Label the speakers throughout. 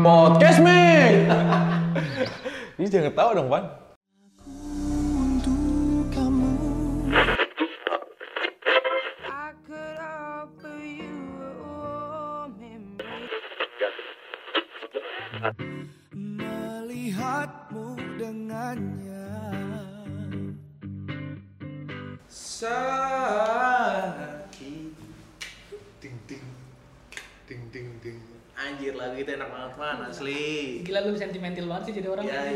Speaker 1: Podcast Mac.
Speaker 2: Ini jangan tahu dong, Pan.
Speaker 3: I could offer you a warm embrace.
Speaker 4: Anjir lagu itu enak banget man asli.
Speaker 5: Gila lu sentimental banget sih jadi orang. Nah,
Speaker 4: Ya,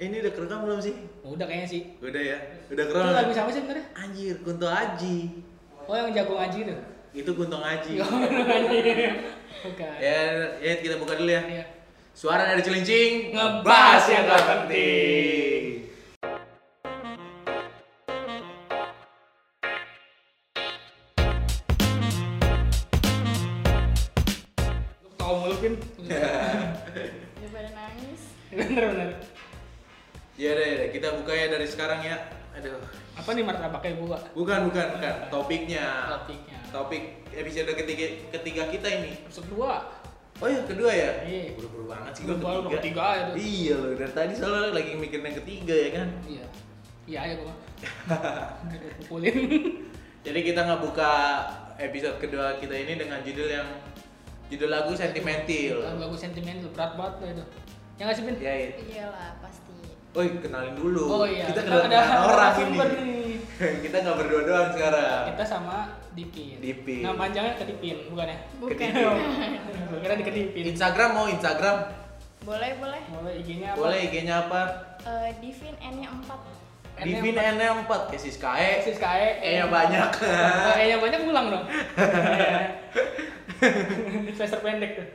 Speaker 4: ini udah kerekam belum sih?
Speaker 5: Udah kayaknya sih.
Speaker 4: Udah ya, udah
Speaker 5: Itu
Speaker 4: kerekam.
Speaker 5: lagu siapa sih sebenarnya?
Speaker 4: Anjir, Kunto Aji.
Speaker 5: Oh yang jago ngaji itu.
Speaker 4: Itu Kunto Aji.
Speaker 5: Jago ngaji. Bukan.
Speaker 4: ya, ya kita buka dulu ya.
Speaker 5: Iya.
Speaker 4: Suara dari Cilincing
Speaker 5: Ngebahas yang
Speaker 4: gak
Speaker 5: gak
Speaker 4: penting.
Speaker 5: Lu tahu mulu pin.
Speaker 6: daripada nangis
Speaker 5: Bener bener.
Speaker 4: Ya udah, ya udah, kita buka ya dari sekarang ya. Aduh,
Speaker 5: Apa nih martabaknya gua?
Speaker 4: bukan bukan bukan topiknya.
Speaker 5: Topiknya.
Speaker 4: Topik episode ketiga ketiga kita ini.
Speaker 5: Episode dua.
Speaker 4: Oh iya kedua ya?
Speaker 5: Iya.
Speaker 4: Buru-buru banget sih gua
Speaker 5: Baru baru ketiga aja tuh.
Speaker 4: Iya loh, dari tadi soalnya lagi mikirin yang ketiga ya kan.
Speaker 5: Iya. Iya aja gua. Pukulin.
Speaker 4: Jadi kita ngebuka episode kedua kita ini dengan judul yang judul lagu sentimental.
Speaker 5: Lagu-lagu sentimental berat banget lah itu. Ya nggak sih pin?
Speaker 4: Ya, iya.
Speaker 6: iyalah pasti
Speaker 4: Woi kenalin dulu.
Speaker 5: Oh iya.
Speaker 4: Kita
Speaker 5: ada-
Speaker 4: kenalin orang ini.
Speaker 5: narasumber nih.
Speaker 4: kita nggak berdua doang sekarang.
Speaker 5: Kita sama Dipin.
Speaker 4: Dipin. Iya.
Speaker 5: Nama panjangnya Kedipin, bukan ya?
Speaker 6: bukan
Speaker 5: Gua kira di Kedipin.
Speaker 4: Instagram mau Instagram.
Speaker 6: boleh boleh
Speaker 5: Mulai IG-nya apa?
Speaker 4: Boleh IG-nya apa?
Speaker 6: Eh, divin n nya empat
Speaker 5: N-nya
Speaker 4: Divin
Speaker 5: empat. E.
Speaker 4: N 4 Kesis KE.
Speaker 5: Sis kae.
Speaker 4: E-nya banyak.
Speaker 5: E-nya banyak pulang dong. Semester pendek tuh.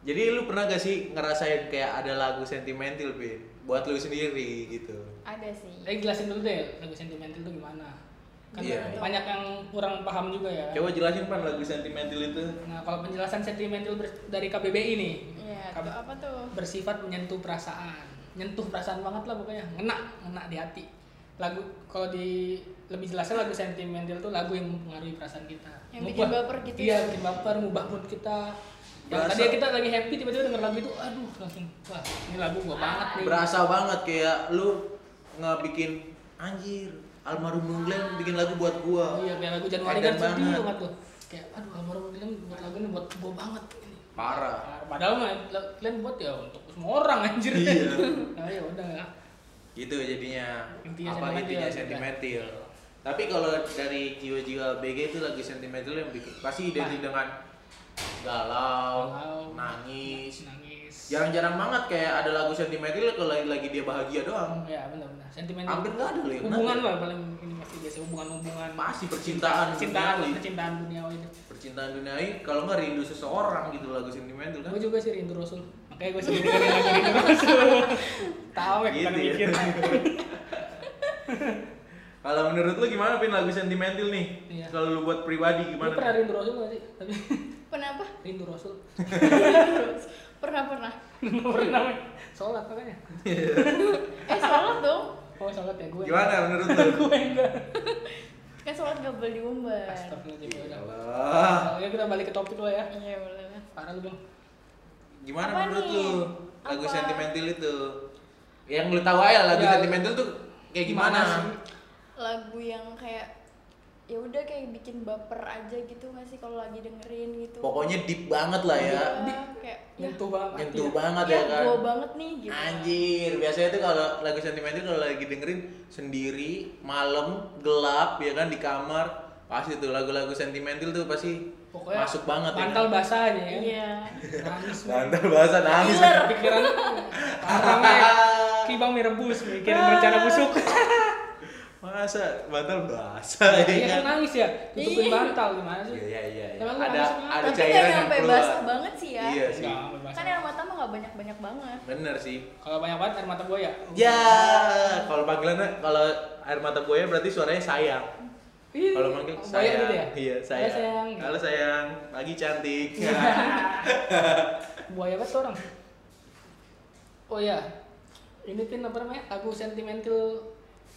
Speaker 4: Jadi lu pernah gak sih ngerasain kayak ada lagu sentimental, Bin? Buat lu sendiri gitu.
Speaker 6: ada sih
Speaker 5: Eh jelasin dulu deh lagu sentimental itu gimana. Kan
Speaker 4: Iya.
Speaker 5: banyak yang kurang paham juga ya.
Speaker 4: Coba jelasin pan lagu sentimental itu.
Speaker 5: Nah, kalau penjelasan sentimental ber- dari KBBI nih.
Speaker 6: ya
Speaker 5: Kab-
Speaker 6: tuh apa tuh
Speaker 5: bersifat menyentuh perasaan. Nyentuh perasaan banget lah pokoknya. Ngena, ngena di hati. Lagu kalau di lebih jelasnya lagu sentimental tuh lagu yang mempengaruhi perasaan kita.
Speaker 6: Yang bikin
Speaker 5: Ngubah-
Speaker 6: baper gitu
Speaker 5: Iya,
Speaker 6: ya?
Speaker 5: bikin baper, ngubah mood kita. Yang
Speaker 4: Berasa-
Speaker 5: tadi kita lagi happy tiba-tiba denger lagu itu, aduh langsung wah ini lagu gua banget nih.
Speaker 4: Berasa banget kayak lu ngebikin anjir almarhum Bung Glenn bikin lagu buat gua.
Speaker 5: Iya, kayak lagu Januari
Speaker 4: Edan
Speaker 5: kan sedih
Speaker 4: banget.
Speaker 5: banget tuh. Kayak aduh Almarhum Glenn buat lagu ini buat gua banget ini.
Speaker 4: Parah.
Speaker 5: Nah, Padahal mah la- Glenn buat ya untuk semua orang anjir.
Speaker 4: Iya.
Speaker 5: nah, ya udah.
Speaker 4: Gitu jadinya.
Speaker 5: Intinya
Speaker 4: apa
Speaker 5: sentimental. ya,
Speaker 4: intinya sentimental. Tapi kalau dari jiwa-jiwa BG itu lagu sentimental yang bikin pasti identik dengan galau,
Speaker 5: Galau.
Speaker 4: nangis.
Speaker 5: Nangis.
Speaker 4: Jarang-jarang banget kayak ada lagu sentimental kalau lagi, lagi dia bahagia doang.
Speaker 5: Ya benar-benar sentimental.
Speaker 4: Hampir nggak ada loh yang
Speaker 5: hubungan
Speaker 4: ada.
Speaker 5: lah paling ini masih biasa hubungan-hubungan.
Speaker 4: Masih percintaan
Speaker 5: Percintaan,
Speaker 4: duniawi.
Speaker 5: percintaan duniawi itu.
Speaker 4: percintaan duniawi kalau nggak rindu seseorang gitu lagu sentimental kan
Speaker 5: Gue juga sih rindu Rasul. Makanya gue sendiri kan lagu rindu Rasul. Tahu ya kan
Speaker 4: Gitu ya.
Speaker 5: mikir.
Speaker 4: kalau menurut lu gimana pin lagu sentimental nih
Speaker 5: Iya.
Speaker 4: kalau lu buat pribadi
Speaker 5: Lu
Speaker 4: gimana
Speaker 5: pernah
Speaker 4: nih?
Speaker 5: rindu Rasul gak sih? Tapi
Speaker 6: pernah apa
Speaker 5: rindu Rasul.
Speaker 6: pernah pernah
Speaker 5: Pernah men. Sholat makanya.
Speaker 6: eh sholat dong
Speaker 5: Oh sholat ya gue.
Speaker 4: gimana menurut lu
Speaker 5: Gue enggak.
Speaker 6: kan sholat gak boleh diumbar
Speaker 5: Astagfirullahaladzim. ya udah.
Speaker 4: Alah.
Speaker 5: Nah, Ya kita balik ke topik lo ya.
Speaker 6: iya boleh lah.
Speaker 5: Parah lu bang.
Speaker 4: gimana
Speaker 6: Apa
Speaker 4: menurut
Speaker 6: nih?
Speaker 4: lu lagu
Speaker 6: Apa?
Speaker 4: sentimental itu yang lu tahu aja lagu
Speaker 5: Ya.
Speaker 4: sentimental tuh kayak gimana,
Speaker 5: sih?
Speaker 6: lagu yang kayak ya udah kayak bikin baper aja gitu nggak sih kalau lagi dengerin gitu
Speaker 4: pokoknya deep banget lah ya
Speaker 6: Iya, kayak ya,
Speaker 5: Nyentuh banget.
Speaker 4: nyentuh
Speaker 5: hati.
Speaker 4: banget
Speaker 6: ya
Speaker 4: ya kan
Speaker 6: gua banget nih gitu
Speaker 4: Anjir, biasanya tuh kalau lagu sentimental kalau lagi dengerin sendiri, malam, gelap ya kan di kamar, pasti tuh lagu-lagu sentimental tuh pasti
Speaker 5: Pokoknya
Speaker 4: masuk banget
Speaker 5: Bantal
Speaker 4: ya.
Speaker 5: basah aja ya.
Speaker 6: iya
Speaker 5: Nangis.
Speaker 4: Kan? Bantal bahasa nangis.
Speaker 5: Pikiran orangnya kibang mie rebus,
Speaker 4: Ah.
Speaker 5: mikirin rencana busuk.
Speaker 4: Masa bantal bahasa
Speaker 5: Iya
Speaker 4: ya
Speaker 5: kan
Speaker 4: kan?
Speaker 5: nangis ya, tutupin
Speaker 6: Iya.
Speaker 5: bantal gimana sih?
Speaker 4: Iya iya iya. iya.
Speaker 5: Emang lu
Speaker 4: Ada
Speaker 5: nangis kenapa?
Speaker 4: ada
Speaker 6: tapi
Speaker 4: cairan
Speaker 6: nggak
Speaker 4: yang
Speaker 6: nyampe
Speaker 4: keluar.
Speaker 6: basah banget sih ya
Speaker 4: Iya sih.
Speaker 5: Enggak, bebas.
Speaker 6: kan air mata mah nggak banyak banyak banget
Speaker 4: Bener sih.
Speaker 5: Kalau banyak banget air mata buaya.
Speaker 4: Ya, kalau panggilannya kalau air mata buaya berarti suaranya sayang.
Speaker 5: Ih,
Speaker 4: Kalau manggil
Speaker 5: buaya
Speaker 4: sayang.
Speaker 5: gitu ya?
Speaker 4: Iya,
Speaker 5: Buaya
Speaker 4: sayang.
Speaker 5: sayang. iya.
Speaker 4: Halo sayang, pagi cantik.
Speaker 5: Buaya banget tuh orang. Oh iya. Ini pin apa namanya? Lagu sentimental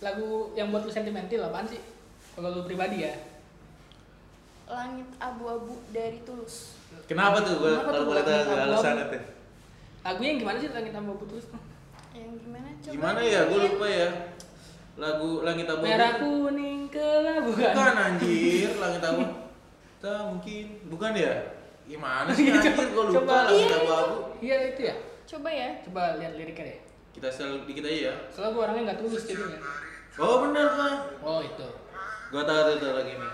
Speaker 5: lagu yang buat lu sentimental apaan sih? Kalau lu pribadi ya.
Speaker 6: langit abu-abu dari tulus
Speaker 4: Kenapa tuh gua
Speaker 5: Kenapa
Speaker 4: kalau
Speaker 5: tuh
Speaker 4: boleh
Speaker 5: lagu
Speaker 4: tahu
Speaker 5: Abu-Abu?
Speaker 4: alasannya tuh?
Speaker 5: Lagunya yang gimana sih langit tambah putus?
Speaker 6: yang gimana coba
Speaker 4: Gimana ya? Gue
Speaker 6: nyanyiin.
Speaker 4: lupa ya. Lagu Langit Abu.
Speaker 5: Merah kuning kelabu bukan?
Speaker 4: Bukan anjir, Langit Abu. Tak mungkin. Bukan ya? Gimana sih
Speaker 5: Coba-
Speaker 4: anjir? Gue lupa
Speaker 5: Gitu. coba.
Speaker 4: Langit
Speaker 6: Iya,
Speaker 4: Abu
Speaker 6: itu.
Speaker 4: Abu.
Speaker 5: Iya itu ya.
Speaker 6: coba ya
Speaker 5: Coba lihat liriknya deh.
Speaker 4: Kita sel dikit aja ya.
Speaker 5: Soalnya gue orangnya nggak tulus gitu ya.
Speaker 4: Oh bener kan?
Speaker 5: Oh itu.
Speaker 4: Gue tahu tuh tuh lagi nih.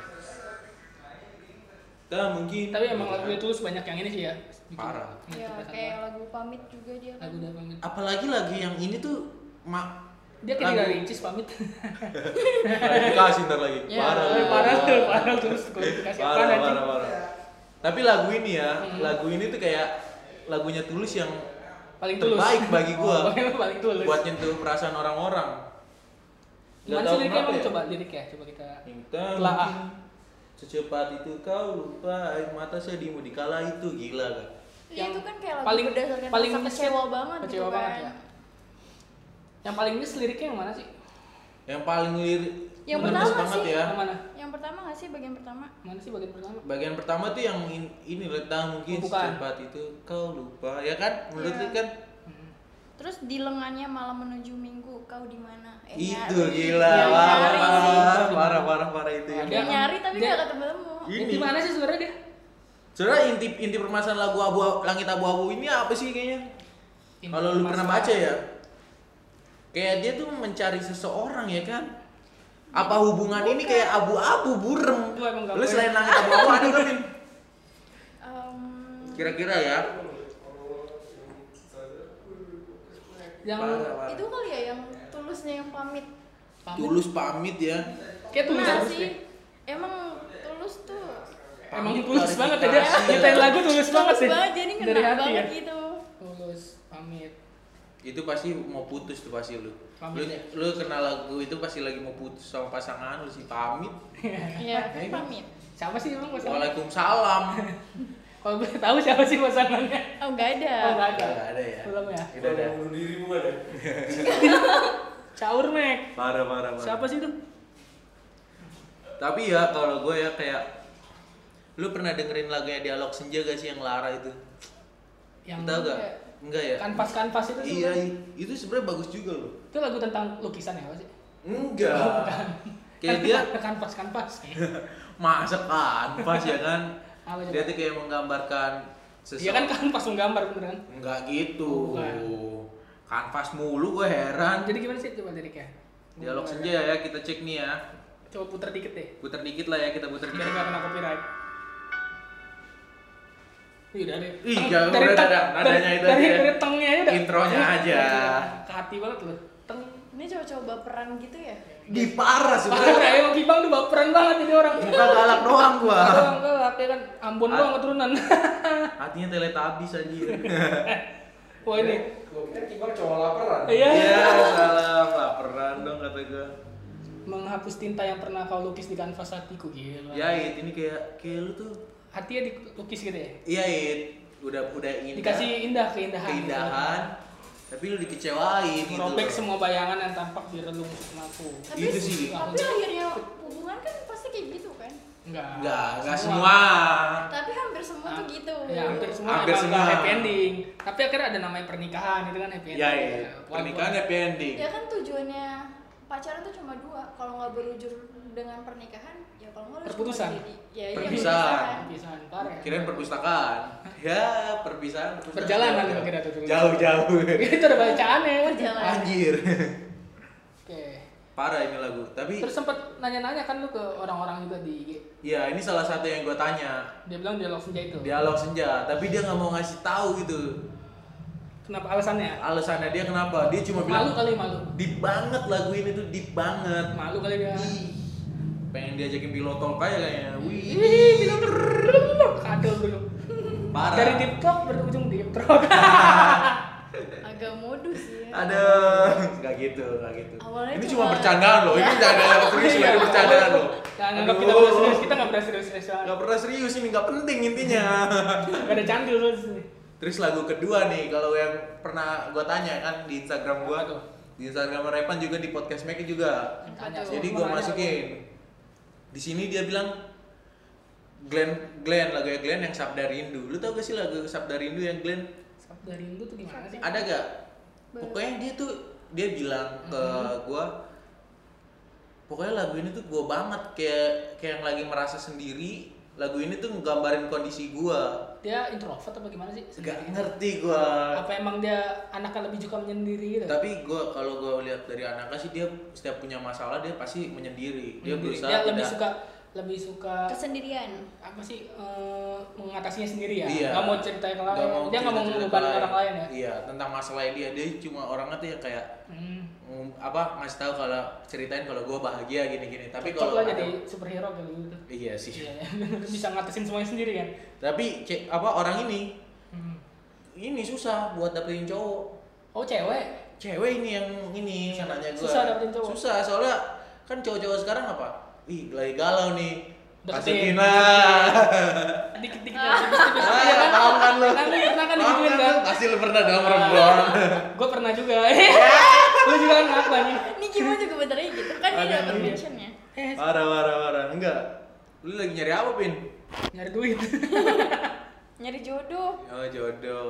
Speaker 4: Tak mungkin.
Speaker 5: Tapi emang lagunya tulus banyak yang ini sih ya. Bikin-
Speaker 4: Parah.
Speaker 6: ya
Speaker 5: Iya, cepat
Speaker 6: kayak
Speaker 5: banget.
Speaker 6: lagu pamit juga dia
Speaker 5: lagu udah pamit.
Speaker 4: Apalagi lagu yang ini tuh mak
Speaker 5: Dia kayak dari Incis pamit.
Speaker 4: Kasih ntar lagi.
Speaker 6: Ya,
Speaker 4: Parah.
Speaker 5: Iya. Parah parah tuh, parah terus kualifikasi apa
Speaker 4: parah
Speaker 5: nanti? Hmm.
Speaker 4: parah parah tapi lagu ini ya lagu ini tuh kayak lagunya tulus yang
Speaker 5: Paling tulus.
Speaker 4: terbaik bagi gua
Speaker 5: Oh, paling tulus.
Speaker 4: buat nyentuh perasaan orang-orang Gak
Speaker 5: Gimana
Speaker 4: tahu
Speaker 5: sih liriknya
Speaker 4: kenapa
Speaker 5: emang
Speaker 4: ya.
Speaker 5: coba liriknya? Coba kita
Speaker 4: Minta
Speaker 5: Telah. ah.
Speaker 4: mungkin secepat itu kau lupa air mata sedihmu di kala itu gila kan
Speaker 6: Iya, itu kan kayak lagu
Speaker 5: paling-
Speaker 6: berdasarkan
Speaker 5: paling
Speaker 6: rasa kecewa banget
Speaker 5: kecewa
Speaker 6: gitu
Speaker 5: banget
Speaker 6: kan.
Speaker 5: ya. Yang paling nyes liriknya yang mana sih?
Speaker 4: yang paling lirik
Speaker 6: Yang
Speaker 4: ngenes
Speaker 6: pertama
Speaker 4: banget
Speaker 6: sih.
Speaker 4: ya
Speaker 5: Yang mana?
Speaker 6: Yang pertama gak sih bagian pertama?
Speaker 5: Mana sih bagian pertama?
Speaker 4: bagian pertama tuh yang in- ini letang mungkin
Speaker 5: Oh, bukan.
Speaker 4: secepat itu kau lupa ya kan menurut
Speaker 6: Iya.
Speaker 4: lu kan
Speaker 5: Hmm.
Speaker 6: Terus di lengannya malam menuju minggu, kau di mana? Eh,
Speaker 5: Iya,
Speaker 4: itu
Speaker 6: nyari.
Speaker 4: gila
Speaker 6: Yang
Speaker 4: parah
Speaker 6: nyari sih.
Speaker 4: parah parah parah, parah itu ya.
Speaker 5: Ada.
Speaker 6: Yang nyari tapi
Speaker 5: Dia-
Speaker 6: gak ketemu.
Speaker 4: Ini.
Speaker 5: Gimana sih sebenarnya dia?
Speaker 4: Sebenarnya inti inti permasalahan lagu abu langit abu-abu ini apa sih kayaknya?
Speaker 5: Inti
Speaker 4: Kalau lu pernah
Speaker 5: permasalahan.
Speaker 4: baca ya, kayak dia tuh mencari seseorang ya kan? Apa hubungan ini kayak abu-abu burem?
Speaker 5: Lu emang gak
Speaker 4: Lu
Speaker 5: boleh.
Speaker 4: selain langit abu-abu ada belum? Min?
Speaker 6: Em,
Speaker 4: Kira-kira ya?
Speaker 5: Yang
Speaker 4: Parah, parah.
Speaker 6: itu kali ya yang tulusnya yang pamit.
Speaker 5: pamit.
Speaker 4: Tulus pamit ya.
Speaker 5: Kayak tulus
Speaker 6: Nah,
Speaker 5: harus
Speaker 6: sih.
Speaker 5: deh.
Speaker 6: Emang tulus tuh.
Speaker 5: Emang
Speaker 4: Pamit Iya.
Speaker 5: tulus banget ya dia.
Speaker 4: klarifikasi.
Speaker 5: Nyetain lagu tulus banget sih.
Speaker 6: banget jadi ngena
Speaker 5: Dari hati ya.
Speaker 6: banget gitu.
Speaker 5: Tulus pamit.
Speaker 4: Itu pasti mau putus tuh pasti lu. Lu,
Speaker 5: Pamit ya?
Speaker 4: lu kenal lagu itu pasti lagi mau putus sama pasangan lu sih pamit.
Speaker 6: Iya, kan pamit.
Speaker 5: Siapa sih emang pasangan?
Speaker 4: Waalaikumsalam.
Speaker 5: Kalau gue tahu siapa sih pasangannya?
Speaker 6: Oh, gak ada.
Speaker 5: Oh nggak ada.
Speaker 4: Gak ada ya?
Speaker 5: Belum ya?
Speaker 4: Udah ada.
Speaker 2: bunuh diri bukan ya?
Speaker 5: Caur Mek.
Speaker 4: Parah parah parah.
Speaker 5: Siapa sih itu?
Speaker 4: Tapi ya kalau gue ya kayak lu pernah dengerin lagunya dialog senja gak sih yang Lara itu?
Speaker 5: Yang
Speaker 4: Tahu gak? Enggak ya?
Speaker 5: kanvas-kanvas itu sih.
Speaker 4: iya,
Speaker 5: bukan?
Speaker 4: i- itu sebenarnya bagus juga loh.
Speaker 5: Itu lagu tentang lukisan ya apa sih? Kan
Speaker 4: Enggak. kayak dia
Speaker 5: kanvas-kanvas.
Speaker 4: masak kanvas ya kan.
Speaker 5: Apa coba?
Speaker 4: Dia tuh kayak menggambarkan sesuatu.
Speaker 5: Iya kan kanvas menggambar beneran.
Speaker 4: Enggak gitu.
Speaker 5: Bukan.
Speaker 4: Kanvas mulu gue heran.
Speaker 5: Jadi gimana sih coba liriknya?
Speaker 4: Dialog senja ya kita cek nih ya.
Speaker 5: Coba putar dikit deh.
Speaker 4: Puter dikit lah ya kita puter
Speaker 5: Biar
Speaker 4: dikit.
Speaker 5: nggak kena copyright. Ih, udah deh.
Speaker 4: Ih,
Speaker 5: Teng-
Speaker 4: jangan udah
Speaker 5: teng-
Speaker 4: ada nadanya itu
Speaker 5: dari,
Speaker 4: aja.
Speaker 5: dari tengnya aja udah.
Speaker 4: Intronya aja.
Speaker 5: Ke hati banget loh. Teng.
Speaker 6: Ini coba-coba peran gitu ya.
Speaker 4: Di parah
Speaker 5: Parah
Speaker 4: sebenarnya.
Speaker 5: ya, emang Ibang tuh baperan banget ini orang.
Speaker 4: Muka galak doang gua.
Speaker 5: Doang gue hati kan Ambon
Speaker 4: Ah.
Speaker 5: doang keturunan.
Speaker 4: Hatinya teletabis anjir.
Speaker 5: Wah ini.
Speaker 2: Gue pikir Iqbal cowok laparan.
Speaker 5: Iya.
Speaker 4: Iya, salam laparan dong kata gue.
Speaker 5: Menghapus tinta yang pernah kau lukis di kanvas hatiku gila.
Speaker 4: Yait, Ya, ini kayak kayak lu tuh.
Speaker 5: Hatinya dilukis gitu ya.
Speaker 4: Yait, udah udah indah.
Speaker 5: Dikasih indah keindahan.
Speaker 4: keindahan, tapi lu dikecewain gitu.
Speaker 5: Merobek
Speaker 4: loh.
Speaker 5: semua bayangan yang tampak di relung senapu.
Speaker 6: Tapi,
Speaker 4: Itu Gitu sih.
Speaker 6: Tapi akhirnya hubungan kan pasti kayak gitu kan.
Speaker 5: Enggak.
Speaker 4: Enggak, enggak semua.
Speaker 6: Tapi hampir semua tuh gitu.
Speaker 5: Ya, hampir semua
Speaker 4: Iya. Hampir
Speaker 5: emang
Speaker 4: semua.
Speaker 5: nggak happy ending. Tapi akhirnya ada namanya pernikahan, itu kan
Speaker 4: Ya,
Speaker 5: happy ending.
Speaker 4: Yait,
Speaker 5: Walaupun-
Speaker 4: iya. pernikahan happy ending.
Speaker 6: Ya kan tujuannya pacaran tuh cuma dua. Kalau nggak berujur dengan pernikahan, ya kalau nggak lu cuma
Speaker 5: Perputusan.
Speaker 6: jadi ya iya,
Speaker 4: Perpisahan.
Speaker 5: Perpisahan, parah ya.
Speaker 4: Kirain perpustakaan. Ya, perpisahan. perpustakaan.
Speaker 5: Perjalanan
Speaker 4: Jauh.
Speaker 5: gua kira tuh dulu.
Speaker 4: Jauh-jauh.
Speaker 5: itu ada bacaannya.
Speaker 6: Perjalanan.
Speaker 4: Anjir.
Speaker 5: Oke.
Speaker 4: Parah ini lagu. Tapi
Speaker 5: Terus sempat nanya-nanya kan lu ke orang-orang juga di IG.
Speaker 4: ya ini salah satu yang gue tanya.
Speaker 5: Dia bilang dialog senja itu.
Speaker 4: Dialog senja, tapi dia nggak mau ngasih tahu gitu.
Speaker 5: Kenapa alasannya?
Speaker 4: alasannya dia kenapa dia cuma bilang
Speaker 5: Malu kali malu.
Speaker 4: deep banget lagu ini tuh deep banget
Speaker 5: Malu kali dia.
Speaker 4: Ih, pengen diajakin pilotol kayak kayaknya wih
Speaker 5: Ih, bilang "Rrrr." kadal dulu.
Speaker 4: parah
Speaker 5: Dari deep talk berujung deep talk.
Speaker 6: Agak modus
Speaker 5: Iya.
Speaker 6: ya.
Speaker 4: Ah. aduh nggak gitu nggak gitu
Speaker 6: Awalnya
Speaker 4: ini cuma
Speaker 6: cuma-
Speaker 4: bercandaan loh ini bercandaan yang serius loh ini bercandaan loh
Speaker 5: Jangan anggap Iya. Nah, kita
Speaker 4: Aduh.
Speaker 5: pernah serius, kita nggak pernah serius-serius banget.
Speaker 4: nggak pernah serius ini nggak penting intinya
Speaker 5: Gak ada candil terus.
Speaker 4: terus lagu kedua nih kalau yang pernah gua tanya kan di Instagram gua
Speaker 5: Apa tuh?
Speaker 4: di Instagram Repan juga di podcast Make juga
Speaker 5: Tanya,
Speaker 4: Jadi gue masukin. Di sini dia bilang Glenn Glenn lagu ya Glenn yang Sabda Rindu. Lu tau gak sih lagu Sabda Rindu yang Glenn?
Speaker 5: Siapa dari lu tuh gimana sih?
Speaker 4: ada gak
Speaker 6: Boleh.
Speaker 4: pokoknya dia tuh dia bilang ke
Speaker 5: Mm-hmm.
Speaker 4: gua pokoknya lagu ini tuh gua banget kayak kayak yang lagi merasa sendiri lagu ini tuh nggambarin kondisi gua
Speaker 5: Dia introvert apa gimana sih?
Speaker 4: gak
Speaker 5: Sendiri.
Speaker 4: ngerti gua
Speaker 5: Apa emang dia anaknya lebih suka menyendiri gitu?
Speaker 4: tapi gua kalau gua lihat dari anaknya sih dia setiap punya masalah dia pasti menyendiri dia
Speaker 5: Menyendiri.
Speaker 4: berusaha
Speaker 5: Dia
Speaker 4: tidak-
Speaker 5: lebih suka lebih suka
Speaker 6: kesendirian
Speaker 5: apa sih eh, mengatasinya sendiri ya?
Speaker 4: Iya.
Speaker 5: Gak mau cerita ke orang lain. dia gak mau
Speaker 4: cerita-cerita
Speaker 5: mengubah
Speaker 4: lain.
Speaker 5: orang lain ya?
Speaker 4: iya tentang masalah dia dia cuma orangnya tuh ya kayak
Speaker 5: Hmm.
Speaker 4: mm, apa ngasih tahu kalau ceritain kalau gua bahagia gini-gini tapi
Speaker 5: Cocok
Speaker 4: kalau
Speaker 5: lah
Speaker 4: ada-
Speaker 5: jadi superhero kayak gitu.
Speaker 4: iya sih
Speaker 5: Iya, bisa ngatasin semuanya sendiri kan?
Speaker 4: tapi ce- apa orang ini
Speaker 5: Hmm.
Speaker 4: ini susah buat dapetin cowok
Speaker 5: Oh cewek?
Speaker 4: cewek ini yang ini
Speaker 5: Susah.
Speaker 4: nanya gua
Speaker 5: Iya, Susah dapetin cowok.
Speaker 4: susah soalnya kan cowok-cowok sekarang apa ih lagi galau nih masukin
Speaker 5: Deketin.
Speaker 4: lah
Speaker 5: Dikit-dikit
Speaker 4: Ah, paham kan lu?
Speaker 5: Iya Kan lu pernah kan
Speaker 4: Paham
Speaker 5: digituin
Speaker 4: kan
Speaker 5: kan?
Speaker 4: lu? pasti lu pernah dong perempuan
Speaker 5: Gue pernah juga. Lu juga kan ngaku anjing.
Speaker 6: ini gimana juga bentarnya gitu kan dia
Speaker 4: Ada
Speaker 6: dapat
Speaker 4: iya.
Speaker 6: mentionnya
Speaker 5: Eh,
Speaker 4: parah parah parah enggak lu lagi nyari apa pin
Speaker 5: Nyari duit.
Speaker 6: nyari jodoh
Speaker 4: oh jodoh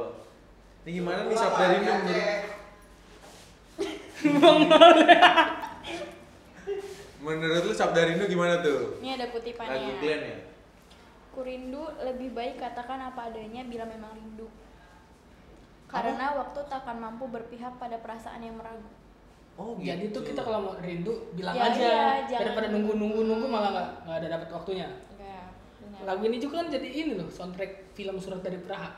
Speaker 4: ini gimana nih
Speaker 2: Pulang
Speaker 4: sob dari
Speaker 2: lagi
Speaker 4: lu
Speaker 2: aja.
Speaker 4: menurut, menurut lu sob dari lu gimana tuh
Speaker 6: ini ada
Speaker 4: lagu
Speaker 6: kutipannya
Speaker 4: Glenn ya
Speaker 6: Kurindu lebih baik katakan apa adanya bila memang rindu. Karena waktu takkan mampu berpihak pada perasaan yang meragu.
Speaker 4: oh
Speaker 5: Jadi tuh kita kalau mau rindu bilang
Speaker 6: Ya,
Speaker 5: aja.
Speaker 6: iya, jangan.
Speaker 5: Daripada nunggu-nunggu-nunggu malah nggak nggak ada dapat waktunya.
Speaker 6: Ya, benar.
Speaker 5: Lagu ini juga kan jadi ini loh soundtrack film Surat dari Praha.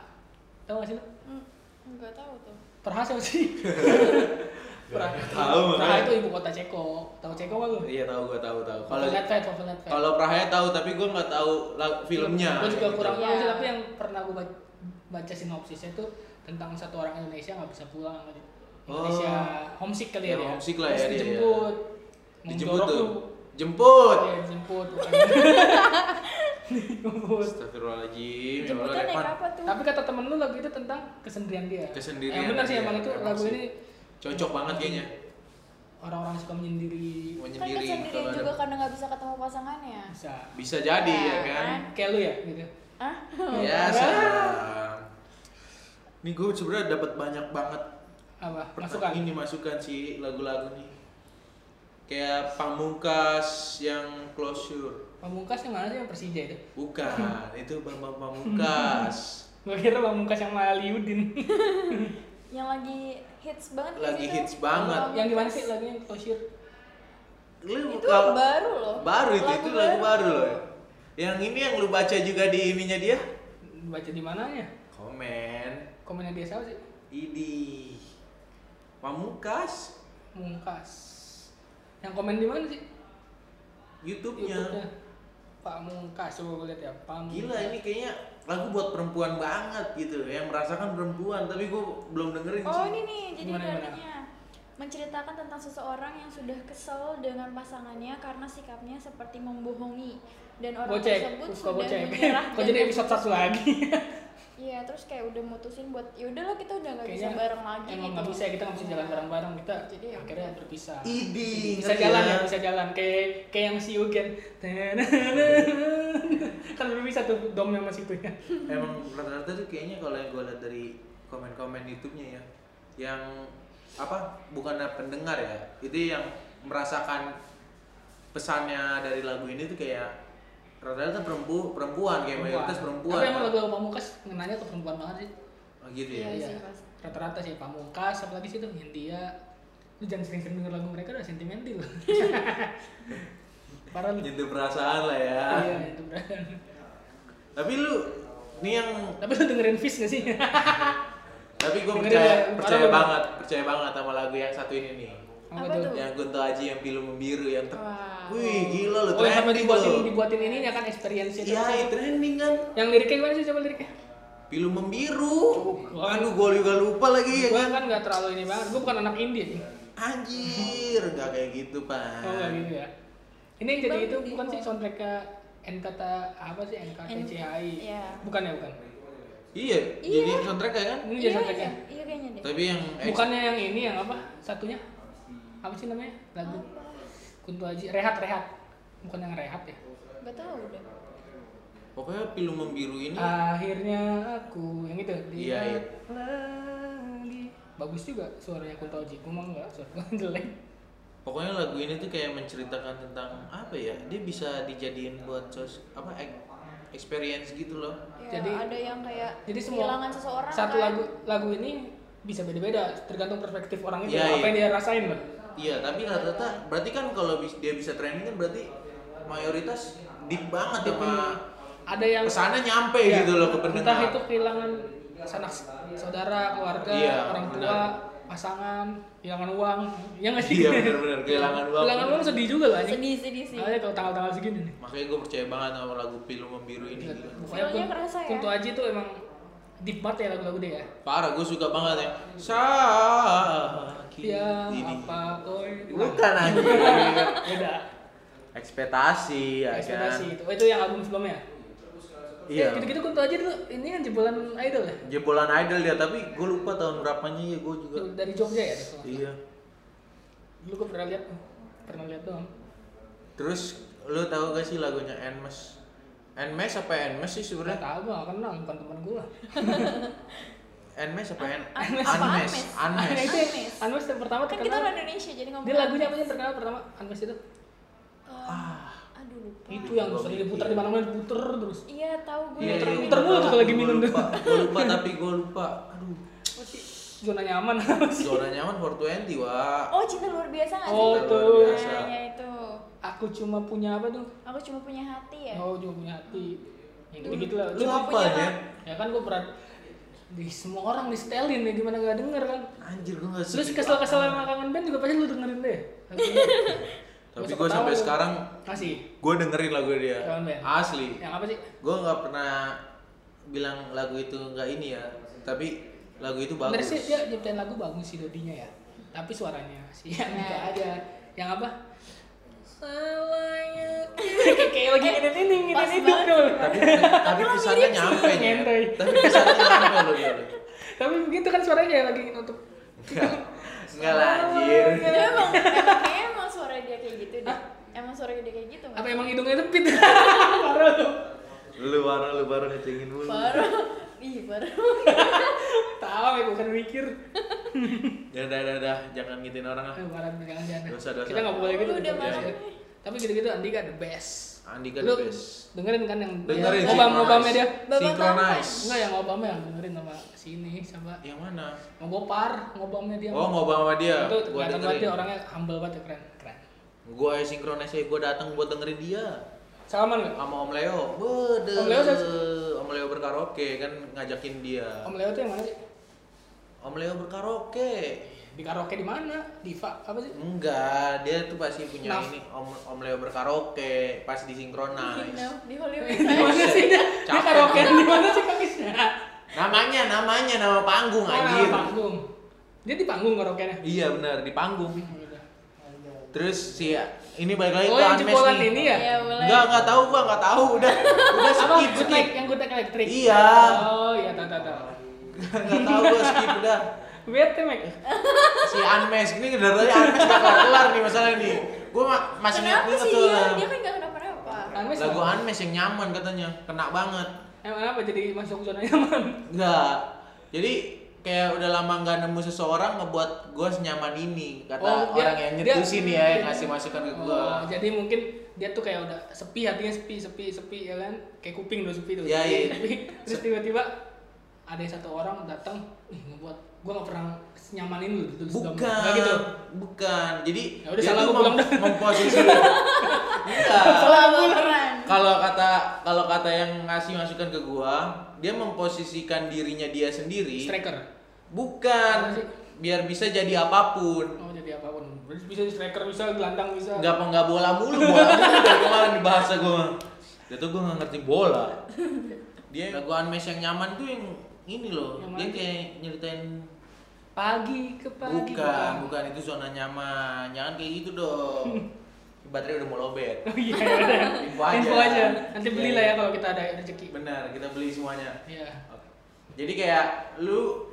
Speaker 5: Tahu gak sih lo?
Speaker 6: Hmm, Enggak tahu tuh.
Speaker 5: Praha siapa sih? Praha.
Speaker 4: Tahu, makanya.
Speaker 5: Praha itu ibu kota Ceko. Tahu Ceko nggak lu?
Speaker 4: iya tahu gua tahu tahu kalau
Speaker 5: Kalau Fate, Fate.
Speaker 4: kalau Prahaya tahu tapi gua nggak tahu lag- filmnya
Speaker 5: Gue juga kurang tahu sih,
Speaker 6: Iya.
Speaker 5: tapi yang pernah gue baca, baca sinopsisnya itu tentang satu orang Indonesia nggak bisa pulang kali. Indonesia homesick kali
Speaker 4: Oh.
Speaker 5: ya
Speaker 4: Ya,
Speaker 5: dia.
Speaker 4: homesick lah
Speaker 5: Terus
Speaker 4: ya dia,
Speaker 5: dijemput.
Speaker 4: dijemput
Speaker 5: Mendorong
Speaker 4: tuh
Speaker 5: lu.
Speaker 4: jemput
Speaker 5: Iya, dijemput. bukan. Dijemput.
Speaker 4: Astagfirullahaladzim ya Allah
Speaker 6: Jemputnya naik
Speaker 4: Revan
Speaker 6: apa tuh?
Speaker 5: Tapi kata temen lu lagu itu tentang kesendirian dia.
Speaker 4: Kesendirian
Speaker 5: Yang benar sih
Speaker 4: dia,
Speaker 5: emang itu
Speaker 4: emang
Speaker 5: lagu
Speaker 4: sih.
Speaker 5: ini
Speaker 4: cocok banget kayaknya
Speaker 5: orang-orang suka menyendiri
Speaker 6: Kan
Speaker 4: menyendiri
Speaker 6: kesendirian
Speaker 4: kalau ada-
Speaker 6: juga karena nggak bisa ketemu pasangannya.
Speaker 5: bisa.
Speaker 4: bisa jadi ya
Speaker 6: Ya,
Speaker 4: kan
Speaker 5: Kayak lu ya gitu.
Speaker 6: Ah,
Speaker 4: ya sayang ini gue sebenarnya dapat banyak banget
Speaker 5: Apa? kan?
Speaker 4: masukan
Speaker 5: Masukan.
Speaker 4: ini masukan sih lagu-lagu nih kayak pamungkas yang closure
Speaker 5: Pamungkas yang mana sih yang Persija itu?
Speaker 4: bukan itu bambang pamungkas
Speaker 5: Gue kira Pamungkas yang Maliudin.
Speaker 6: yang lagi hits banget nggak
Speaker 4: Lagi
Speaker 6: sih itu?
Speaker 4: hits banget.
Speaker 5: yang di mana sih lagunya yang closure?
Speaker 4: lu
Speaker 6: Itu
Speaker 4: kalau-
Speaker 6: baru loh.
Speaker 4: baru itu itu lagu baru loh ya. yang ini yang lu baca juga di ininya dia
Speaker 5: baca di mananya
Speaker 4: komen
Speaker 5: komennya dia siapa sih
Speaker 4: idi pamungkas
Speaker 5: mungkas yang komen di mana sih
Speaker 4: YouTube-nya
Speaker 5: pak mungkas coba gue lihat ya pak
Speaker 4: Iya. gila ini kayaknya lagu buat perempuan banget gitu yang merasakan perempuan tapi gue belum dengerin
Speaker 6: Oh,
Speaker 4: sih
Speaker 6: ini nih, jadi
Speaker 5: Gimana, gimana?
Speaker 6: artinya menceritakan tentang seseorang yang sudah kesel dengan pasangannya karena sikapnya seperti membohongi dan orang
Speaker 5: bocek
Speaker 6: tersebut
Speaker 5: Terus kok
Speaker 6: sudah
Speaker 5: bocek
Speaker 6: menyerah
Speaker 5: kok
Speaker 6: dan
Speaker 5: jadi episode satu lagi
Speaker 6: Iya, terus kayak udah mutusin buat ya udahlah kita udah nggak bisa
Speaker 5: Kayaknya
Speaker 6: bareng lagi
Speaker 5: emang
Speaker 6: gitu.
Speaker 5: nggak bisa ya, kita nggak bisa jalan bareng bareng kita
Speaker 6: Jadi ya
Speaker 5: akhirnya berpisah
Speaker 4: Idi,
Speaker 5: bisa
Speaker 4: ngerti
Speaker 5: jalan
Speaker 4: ya?
Speaker 5: ya bisa jalan kayak kayak yang si Ugen kan bisa tuh dom yang masih itu ya
Speaker 4: emang rata-rata tuh kayaknya kalau yang gue lihat dari komen-komen YouTube-nya ya yang apa bukan pendengar ya itu yang merasakan pesannya dari lagu ini tuh kayak rata-rata perempu perempuan kayak mayoritas perempuan
Speaker 5: tapi emang
Speaker 4: kan?
Speaker 5: lagu pamungkas ngenanya ke perempuan banget sih
Speaker 4: Oh, gitu ya
Speaker 6: Iya,
Speaker 5: Iya.
Speaker 6: sih, pasti.
Speaker 5: Rata-rata sih Pamungkas, apalagi sih itu Hindia. Lu jangan sering-sering denger lagu mereka udah sentimental. Parah lu.
Speaker 4: menyentuh perasaan lah ya
Speaker 5: Iya, itu beneran.
Speaker 4: tapi lu nih yang
Speaker 5: Tapi lu dengerin Fish gak sih?
Speaker 4: tapi gue
Speaker 5: Dengerin
Speaker 4: percaya
Speaker 5: ya,
Speaker 4: percaya
Speaker 5: parah.
Speaker 4: banget percaya banget sama lagu yang satu ini nih
Speaker 5: Apa
Speaker 6: Apa
Speaker 5: tuh?
Speaker 6: tuh?
Speaker 4: yang Gunto Aji yang pilu membiru yang ter-
Speaker 6: Wah.
Speaker 4: wih gila lu
Speaker 5: Oh, yang sampai
Speaker 4: trending
Speaker 5: dibuatin
Speaker 4: lu
Speaker 5: dibuatin ininya kan experience itu.
Speaker 4: iya itu trending kan
Speaker 5: Yang liriknya gimana sih coba liriknya?
Speaker 4: pilu membiru
Speaker 5: Oh,
Speaker 4: aduh gue juga lupa lagi ya
Speaker 5: Gua
Speaker 4: kan
Speaker 5: kan gak terlalu ini banget. Gua bukan anak indie.
Speaker 4: Ah.
Speaker 5: nih.
Speaker 4: anjir nggak kayak gitu
Speaker 5: Oh, gak
Speaker 4: pan
Speaker 5: gitu ya. Ini yang jadi
Speaker 6: Bang,
Speaker 5: itu
Speaker 6: di-
Speaker 5: bukan sih soundtracknya NKT apa sih NKTCHI?
Speaker 6: Iya.
Speaker 5: Bukan ya, bukan.
Speaker 4: iya jadi soundtrack ya kan
Speaker 5: Ini
Speaker 6: Iya,
Speaker 5: jadi
Speaker 6: iya,
Speaker 5: soundtracknya.
Speaker 6: iya kayaknya deh.
Speaker 4: tapi yang
Speaker 5: Bukannya yang ini yang apa? Satunya. Apa sih namanya? Lagu Kunto Aji Rehat Rehat. Bukan yang Rehat ya.
Speaker 6: Enggak tahu deh.
Speaker 4: Pokoknya pilu membiru ini
Speaker 5: Ah. Akhirnya aku yang itu.
Speaker 4: Iya, iya.
Speaker 5: Lagi. Bagus juga suaranya Kunto Aji. Gua mah enggak, suara gua jelek.
Speaker 4: Pokoknya lagu ini tuh kayak menceritakan tentang apa ya? Dia bisa dijadiin buat sos apa ek- experience gitu loh.
Speaker 6: Ya,
Speaker 5: Jadi-
Speaker 6: ada yang kayak
Speaker 5: Jadi semua
Speaker 6: kehilangan seseorang
Speaker 5: satu
Speaker 6: kan.
Speaker 5: lagu lagu ini bisa beda-beda tergantung perspektif orang itu
Speaker 4: Iya,
Speaker 5: apa
Speaker 4: iya.
Speaker 5: yang dia rasain loh.
Speaker 4: Iya, tapi rata-rata berarti kan kalau bis- dia bisa training kan berarti mayoritas deep banget ya sama
Speaker 5: Ada yang
Speaker 4: kesana nyampe
Speaker 5: Iya.
Speaker 4: gitu loh ke
Speaker 5: Entah
Speaker 4: pendengar.
Speaker 5: itu kehilangan sanak s- saudara, keluarga,
Speaker 4: Iya,
Speaker 5: orang tua,
Speaker 4: benar.
Speaker 5: pasangan, kehilangan uang. Ya nggak sih?
Speaker 4: Iya benar-benar kehilangan uang.
Speaker 5: Kehilangan uang sedih juga lah anjing.
Speaker 6: sedih sedih sih
Speaker 5: Makanya kalau tanggal-tanggal segini nih.
Speaker 4: Makanya gue percaya banget sama lagu Pilu Membiru ini. gitu.
Speaker 5: Pokoknya
Speaker 6: Feelnya kerasa ya.
Speaker 5: Kunto Aji tuh emang deep banget ya lagu-lagu dia ya.
Speaker 4: Parah, gue suka banget ya. Sakit
Speaker 5: Iya,
Speaker 4: ini.
Speaker 5: apa oi.
Speaker 4: Bukan aja.
Speaker 5: Beda.
Speaker 4: Ekspektasi, ya
Speaker 5: Ekspektasi
Speaker 4: kan.
Speaker 5: itu. Oh, itu yang album sebelumnya.
Speaker 4: Iya.
Speaker 5: Eh, gitu-gitu Kunto Aji dulu ini kan jebolan idol ya.
Speaker 4: Jebolan idol dia, tapi gue lupa tahun berapanya ya gue juga.
Speaker 5: Dari Jogja ya. dia.
Speaker 4: Iya.
Speaker 5: Dulu gue pernah lihat, pernah lihat doang.
Speaker 4: Terus lu tahu gak sih lagunya Enmes? Enmes apa Enmes sih
Speaker 5: Pernah
Speaker 4: sebenarnya?
Speaker 5: tahu gue nggak kenal, bukan teman gue.
Speaker 4: Enmes apa En?
Speaker 6: Anmes.
Speaker 4: Anmes.
Speaker 5: Nah,
Speaker 4: Anmes.
Speaker 5: itu yang Anmes yang pertama
Speaker 6: kan kita
Speaker 5: terkenal.
Speaker 6: orang Indonesia jadi ngomong Eh,
Speaker 5: Dia lagunya apa Ah. sih yang terkenal pertama Anmes itu?
Speaker 6: aduh lupa
Speaker 5: Itu yang
Speaker 4: Gua
Speaker 5: sering
Speaker 4: mikir.
Speaker 5: diputar di mana-mana diputer terus.
Speaker 6: iya tahu gue
Speaker 4: Iya, iya,
Speaker 5: muter mulu tuh kalau lagi
Speaker 4: gua
Speaker 5: minum tuh.
Speaker 4: lupa. Gua lupa tapi gue lupa. Aduh.
Speaker 5: Apa sih? Zona nyaman apa sih?
Speaker 4: Zona nyaman 420, Wak.
Speaker 6: oh cinta luar biasa nggak
Speaker 5: Oh,
Speaker 6: sih
Speaker 5: tuh.
Speaker 4: Luar biasa.
Speaker 6: nah, ya itu
Speaker 5: Aku cuma punya apa tuh?
Speaker 6: aku cuma punya hati ya
Speaker 5: Oh, cuma punya hati. Yang gitu gitu lah.
Speaker 4: Itu
Speaker 5: Lu
Speaker 4: apa
Speaker 6: punya
Speaker 4: ya?
Speaker 5: ya kan gue berat di semua orang di setelin ya gimana gak denger kan
Speaker 4: Anjir gue gak
Speaker 5: terus kesel-kesel sama kangen band juga pasti lu dengerin deh
Speaker 4: Tapi
Speaker 5: Gak
Speaker 4: gue
Speaker 5: usah
Speaker 4: sampai
Speaker 5: ketawa.
Speaker 4: sekarang
Speaker 5: kasih
Speaker 4: gue dengerin lagu dia.
Speaker 5: Kangen band.
Speaker 4: Asli.
Speaker 5: yang apa sih
Speaker 4: Gue nggak pernah bilang lagu itu nggak ini ya. Tapi lagu itu
Speaker 5: Bener
Speaker 4: bagus.
Speaker 5: sih dia nyiptain lagu bagus sih dodinya ya. Tapi suaranya sih yang enggak ada. Yang apa? Kayak lagi nginin ini,
Speaker 6: pas
Speaker 5: nginin hidup
Speaker 6: banget.
Speaker 5: dong.
Speaker 4: Tapi tapi pesannya nyampe ya.
Speaker 5: Nyantai.
Speaker 4: Tapi pesannya nyampe loh dia. loh.
Speaker 5: Tapi begitu kan suaranya kayak lagi nutup.
Speaker 4: Enggak lah anjir.
Speaker 6: Tapi emang, emang kayaknya emang suara dia kayak gitu deh emang suara dia kayak gitu
Speaker 5: Apa
Speaker 6: nggak
Speaker 5: emang hidungnya tepit? Parah lu.
Speaker 4: Lu parah lu parah ngecengin mulu.
Speaker 6: baru ih baru
Speaker 5: Tahu ya bukan mikir.
Speaker 4: Ya udah udah udah jangan ngitin orang ah. lah.
Speaker 5: Eh, Parah jangan jangan.
Speaker 4: Dosa, dosa.
Speaker 5: Kita enggak boleh gitu.
Speaker 6: Lu udah
Speaker 5: kita
Speaker 4: marah.
Speaker 5: boleh. Tapi gitu-gitu Andika the best.
Speaker 4: Andika
Speaker 5: Lu
Speaker 4: kan the best.
Speaker 5: Dengerin kan yang
Speaker 4: Dengerin
Speaker 5: obam-obamnya dia.
Speaker 6: Bapak
Speaker 4: Synchronize.
Speaker 5: Enggak yang obamnya yang dengerin sama sini sama
Speaker 4: Yang mana?
Speaker 5: ngobopar ngobamnya dia
Speaker 4: Oh ngobam sama dia.
Speaker 5: itu
Speaker 4: Gua
Speaker 5: kelihatan banget dia
Speaker 4: dengerin.
Speaker 5: orangnya humble banget ya, keren keren
Speaker 4: Gua sinkronis aja gua datang buat dengerin dia.
Speaker 5: salaman nggak
Speaker 4: sama Om Leo. Bede.
Speaker 5: Om Leo siapa?
Speaker 4: Om Leo berkaraoke kan ngajakin dia.
Speaker 5: om Leo tuh yang mana sih
Speaker 4: Om Leo berkaraoke.
Speaker 5: di karaoke di mana diva apa sih
Speaker 4: Enggak, dia tuh pasti punya
Speaker 5: Nah.
Speaker 4: ini Om Om Leo berkaraoke pas
Speaker 5: Iya.
Speaker 4: disinkronis.
Speaker 6: di Hollywood
Speaker 5: di mana sih dia dia
Speaker 4: Iya, Capek.
Speaker 5: karaoke di mana sih kakisnya
Speaker 4: Namanya, namanya nama panggung
Speaker 5: Oh,
Speaker 4: anjir.
Speaker 5: di panggung dia di panggung karaoke-nya
Speaker 4: Iya benar di panggung. Terus si ini balik lagi
Speaker 5: oh
Speaker 4: ke
Speaker 5: yang
Speaker 4: Anmes
Speaker 5: jebolan
Speaker 4: nih.
Speaker 5: ini ya
Speaker 6: ya boleh
Speaker 4: Enggak, enggak tahu gua, enggak tahu udah. Udah
Speaker 5: apa ya?
Speaker 4: skip,
Speaker 5: good
Speaker 4: skip.
Speaker 5: night yang good night elektrik
Speaker 4: Iya.
Speaker 5: oh iya tahu tahu tahu
Speaker 4: Enggak tahu gua skip udah.
Speaker 5: bete mek
Speaker 4: si Anmes ini dari tadi Anmes gak kelar kelar nih masalah nih gue masih ingat banget
Speaker 6: kenapa sih
Speaker 4: tuh
Speaker 6: dia dia kan nggak kenapa-napa
Speaker 5: ya? Anmes
Speaker 4: lagu
Speaker 5: apa?
Speaker 4: Anmes yang nyaman katanya kena banget
Speaker 5: emang apa jadi masuk zona nyaman
Speaker 4: enggak jadi kayak udah lama nggak nemu seseorang ngebuat gue senyaman ini kata
Speaker 5: Oh, dia-
Speaker 4: orang yang
Speaker 5: dia-
Speaker 4: nyetusin ya yang ngasih masukan ke gue
Speaker 5: Oh, jadi mungkin dia tuh kayak udah sepi hatinya sepi sepi sepi ya kan kayak kuping udah sepi tuh
Speaker 4: Iya,
Speaker 5: sepi,
Speaker 4: iya.
Speaker 5: sepi. terus tiba-tiba ada satu orang datang nih ngebuat gua gak pernah nyamanin lu gitu
Speaker 4: bukan
Speaker 5: Nggak gitu
Speaker 4: bukan jadi
Speaker 5: Ya udah,
Speaker 4: dia
Speaker 5: salah
Speaker 4: tuh
Speaker 5: gua
Speaker 4: mem-
Speaker 5: bilang dah.
Speaker 4: memposisi enggak
Speaker 6: salah beneran
Speaker 4: kalau kata kalau kata yang ngasih masukan ke gue dia memposisikan dirinya dia sendiri
Speaker 5: striker Apa
Speaker 4: Bukan.
Speaker 5: sih?
Speaker 4: Biar bisa jadi apapun.
Speaker 5: mau jadi apapun Berarti bisa jadi striker bisa gelandang bisa
Speaker 4: Enggak apa enggak bola mulu, bola mulu dari kemarin di bahasa gua. Dia tuh gua enggak ngerti bola. Dia lagu Anmes yang nyaman tuh yang ini loh.
Speaker 5: Yang
Speaker 4: dia
Speaker 5: mana?
Speaker 4: kayak nyeritain
Speaker 5: pagi ke pagi
Speaker 4: bukan, bukan itu zona nyaman. Jangan kayak gitu dong. Baterai udah mau lobet.
Speaker 5: oh iya udah.
Speaker 4: Info aja.
Speaker 5: info aja nanti
Speaker 4: Iya,
Speaker 5: belilah ya
Speaker 4: iya.
Speaker 5: kalau kita ada rezeki
Speaker 4: Benar, kita beli semuanya.
Speaker 5: iya
Speaker 4: Oke. Jadi kayak lu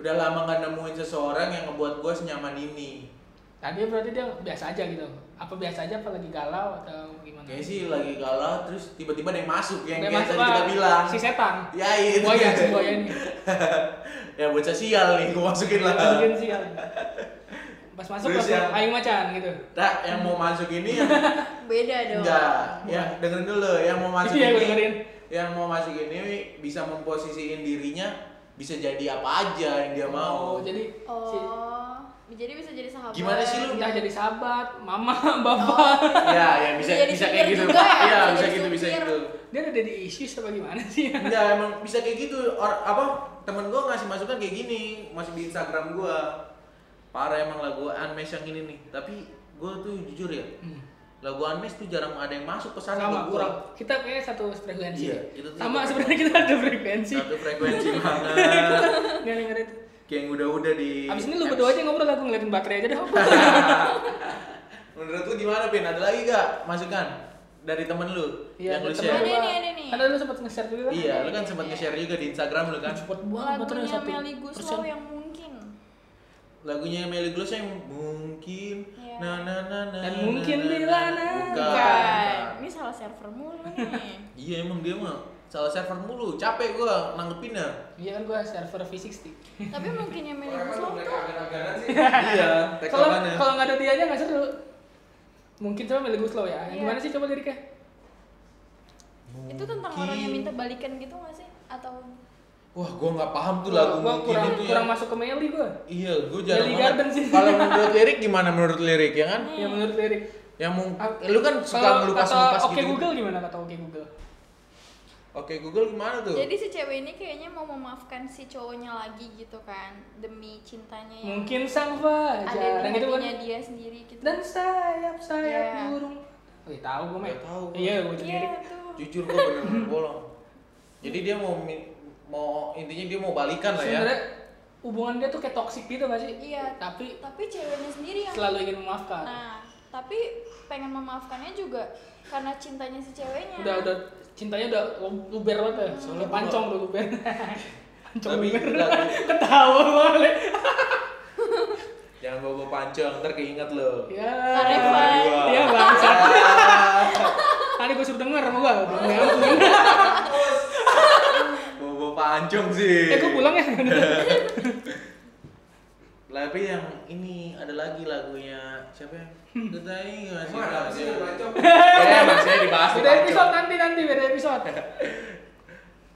Speaker 4: udah lama gak nemuin seseorang yang ngebuat gua senyaman ini.
Speaker 5: Nah dia berarti dia biasa aja gitu. Apa biasa aja apa lagi galau atau gimana?
Speaker 4: Kayaknya sih lagi galau terus tiba-tiba ada yang masuk yang
Speaker 5: Dia
Speaker 4: kayak
Speaker 5: masuk
Speaker 4: tadi kita
Speaker 5: lah,
Speaker 4: bilang.
Speaker 5: Si setan.
Speaker 4: Ya itu.
Speaker 5: Buaya, si buaya ini.
Speaker 4: ya bocah sial nih gua masukin lah.
Speaker 5: Masukin sih. ya. Pas masuk
Speaker 4: kan? Terus
Speaker 5: langsung
Speaker 4: yang-
Speaker 5: aing macan gitu.
Speaker 4: Tak Nah, yang mau masuk ini yang
Speaker 6: Beda dong.
Speaker 4: enggak. Ya dengerin dulu yang mau masuk
Speaker 5: Itu ya gue
Speaker 4: ini.
Speaker 5: dengerin.
Speaker 4: Yang mau masuk ini bisa memposisiin dirinya bisa jadi apa aja yang dia mau.
Speaker 5: Oh, jadi si
Speaker 6: Oh. Jadi bisa jadi sahabat. Oh.
Speaker 4: Gimana sih lu?
Speaker 5: entah jadi sahabat, mama, bapak.
Speaker 4: ya, ya bisa
Speaker 6: Bisa jadi
Speaker 4: bisa kayak
Speaker 6: supir
Speaker 4: gitu.
Speaker 6: juga ya,
Speaker 4: Iya,
Speaker 6: bisa
Speaker 4: bisa
Speaker 6: jadi
Speaker 4: gitu, bisa
Speaker 6: supir.
Speaker 4: gitu.
Speaker 5: Dia ada di issues apa gimana sih?
Speaker 4: Enggak, emang bisa kayak gitu. Or, apa temen gua ngasih masukan kayak gini, masih di Instagram gua. Parah emang lagu Anmes yang ini nih. Tapi gua tuh jujur ya,
Speaker 5: Hmm.
Speaker 4: lagu Anmes tuh jarang ada yang masuk pesan ke gua.
Speaker 5: sama kurang kita kayaknya satu frekuensi
Speaker 4: Iya,
Speaker 5: ya.
Speaker 4: kita tuh
Speaker 5: sama
Speaker 4: satu
Speaker 5: sebenarnya kita ada frekuensi
Speaker 4: Satu frekuensi banget.
Speaker 5: nggak dengerin
Speaker 4: Kayak yang udah-udah di
Speaker 5: abis
Speaker 4: iya.
Speaker 5: ini lu berdua aja ngobrol aku ngeliatin baterai aja deh
Speaker 4: Menurut lu gimana, Pin? Ada lagi gak masukan dari temen lu yang lu
Speaker 6: temen
Speaker 5: Iya, ada
Speaker 4: share?
Speaker 6: gua.
Speaker 5: gua.
Speaker 6: Ada nih, ada nih.
Speaker 5: Ada lu sempet nge-share juga kan?
Speaker 4: Iya, lu kan sempat nge-share juga di Instagram lu kan.
Speaker 5: Cepet banget baterai
Speaker 6: Lagunya
Speaker 5: satu
Speaker 6: Melly
Speaker 5: persen.
Speaker 6: Guslow yang mungkin.
Speaker 4: lagunya Melly Guslow yang mungkin
Speaker 6: Iya.
Speaker 4: na na na na
Speaker 5: Dan
Speaker 4: na,
Speaker 5: mungkin
Speaker 4: na, na.
Speaker 5: bila
Speaker 4: Bukan.
Speaker 6: Bukan. Ini salah server mulu nih.
Speaker 4: iya emang dia mah salah server mulu capek gua nanggepinnya
Speaker 5: Iya kan gua server V60
Speaker 6: Tapi mungkin yang Melly
Speaker 2: Orang emang
Speaker 6: Guslow
Speaker 2: mereka
Speaker 6: tuh
Speaker 2: agan-aganan sih.
Speaker 4: iya
Speaker 5: Kalau
Speaker 4: tekalannya
Speaker 5: kalau nggak ada dia aja nggak seru Mungkin coba Melly Guslow ya
Speaker 6: Iya.
Speaker 5: Gimana sih coba liriknya?
Speaker 6: itu tentang orang yang minta balikan gitu gak sih? Atau
Speaker 4: wah gua nggak paham tuh
Speaker 5: Gua
Speaker 4: lagu
Speaker 5: gua
Speaker 4: mungkin
Speaker 5: kurang
Speaker 4: itu ya
Speaker 5: kurang masuk ke Melly gua
Speaker 4: iya gua jarang
Speaker 5: Melly
Speaker 4: banget
Speaker 5: Garden sih.
Speaker 4: kalau menurut lirik gimana menurut lirik ya kan
Speaker 6: Hmm.
Speaker 5: Ya menurut lirik
Speaker 4: yang mung-
Speaker 5: Ah,
Speaker 4: lu kan
Speaker 5: Kalau
Speaker 4: suka ngelupas
Speaker 5: kata
Speaker 4: ngelupas
Speaker 5: Oke
Speaker 4: gitu
Speaker 5: Google gimana kata Oke Google?
Speaker 6: Iya.
Speaker 4: oke Google gimana tuh
Speaker 6: jadi si cewek ini kayaknya mau memaafkan si cowoknya lagi gitu kan demi cintanya yang
Speaker 5: Mungkin sang
Speaker 6: ada
Speaker 5: fajar
Speaker 6: di
Speaker 5: gitu kan
Speaker 6: hatinya dia sendiri gitu.
Speaker 5: dan sayap sayap
Speaker 6: Iya.
Speaker 5: burung Wih, tahu gue mah
Speaker 4: Nggak tahu gua.
Speaker 5: iya gue sendiri
Speaker 6: Iya tuh.
Speaker 4: jujur gua bener-bener bolong jadi dia mau mi- mau intinya dia mau balikan lah ya
Speaker 5: sebenarnya hubungan dia tuh kayak toksik gitu gak sih
Speaker 6: Iya.
Speaker 5: tapi
Speaker 6: Tapi ceweknya sendiri yang
Speaker 5: selalu ingin memaafkan
Speaker 6: Nah, tapi pengen memaafkannya juga karena cintanya si ceweknya.
Speaker 5: udah udah cintanya udah lu- luber banget ya
Speaker 4: Soalnya
Speaker 5: Kayak pancong tuh luber pancong
Speaker 4: Tapi
Speaker 5: luber
Speaker 4: lagu-
Speaker 5: ketawa boleh
Speaker 4: Jangan bawa pancong, ntar keinget lo. Iya.
Speaker 5: ya
Speaker 6: Karifan.
Speaker 5: ya bangsa tadi gue suruh denger sama gue
Speaker 4: Bawa pancong sih.
Speaker 5: eh gue pulang ya
Speaker 4: Tapi yang ini ada lagi lagunya siapa ya?
Speaker 5: Hmm.
Speaker 4: Tetai nggak sih?
Speaker 2: Emang ada sih yang
Speaker 4: pancong.
Speaker 2: rancok?
Speaker 4: Eh, maksudnya dibahas di
Speaker 5: beda episode
Speaker 4: pancong.
Speaker 5: nanti nanti beda episode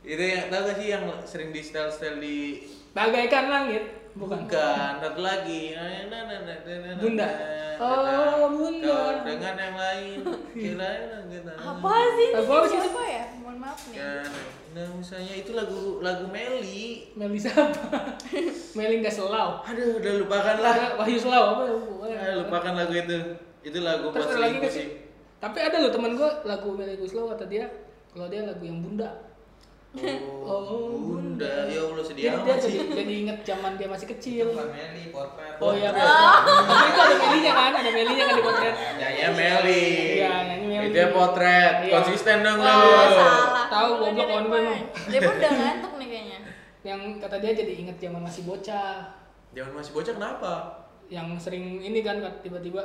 Speaker 4: Itu yang tahu gak sih yang sering di style style di
Speaker 5: bagaikan langit bukan
Speaker 4: bukan satu lagi Na, na, na, na, na, na, na,
Speaker 5: Bunda.
Speaker 4: na, na,
Speaker 5: Oh,
Speaker 4: na.
Speaker 5: Bunda.
Speaker 4: Kau dengan yang lain kirain kita
Speaker 6: Apa sih?
Speaker 5: Lagu apa sih?
Speaker 6: Siapa ya? Mohon maaf nih.
Speaker 4: Kan, nah misalnya itu lagu lagu Meli
Speaker 5: Melisa apa? Meli nggak selau.
Speaker 4: aduh udah lupakanlah
Speaker 5: Ada Wahyu Selau apa? ya?
Speaker 4: Eh, lupakan lagu itu itu lagu buat
Speaker 5: Terus ada lagi
Speaker 4: selingkuh
Speaker 5: nggak sih?
Speaker 4: sih
Speaker 5: Tapi ada loh teman gue lagu Meli Guslow kata dia kalau dia lagu yang bunda.
Speaker 4: oh bunda ya allah sedih
Speaker 5: Jadi dia
Speaker 4: amat
Speaker 5: jadi,
Speaker 4: sih
Speaker 5: jadi inget zaman dia masih kecil.
Speaker 2: Meli, potret.
Speaker 5: Oh iya. Tapi itu ada Melinya kan, ada Melinya kan di potret.
Speaker 2: Ya,
Speaker 4: nyanyi Meli
Speaker 5: Iya, nyanyi Meli.
Speaker 4: itu ya potret
Speaker 5: Iya.
Speaker 4: konsisten dong lu
Speaker 6: Wah, salah.
Speaker 5: eh, Tahu,
Speaker 6: Gimana
Speaker 5: goblok
Speaker 6: dia
Speaker 5: kawan gue emang.
Speaker 6: Depan? Depan udah ngantuk nih kayaknya.
Speaker 5: Yang kata dia jadi inget zaman masih bocah.
Speaker 4: zaman masih bocah kenapa
Speaker 5: Yang sering ini kan tiba-tiba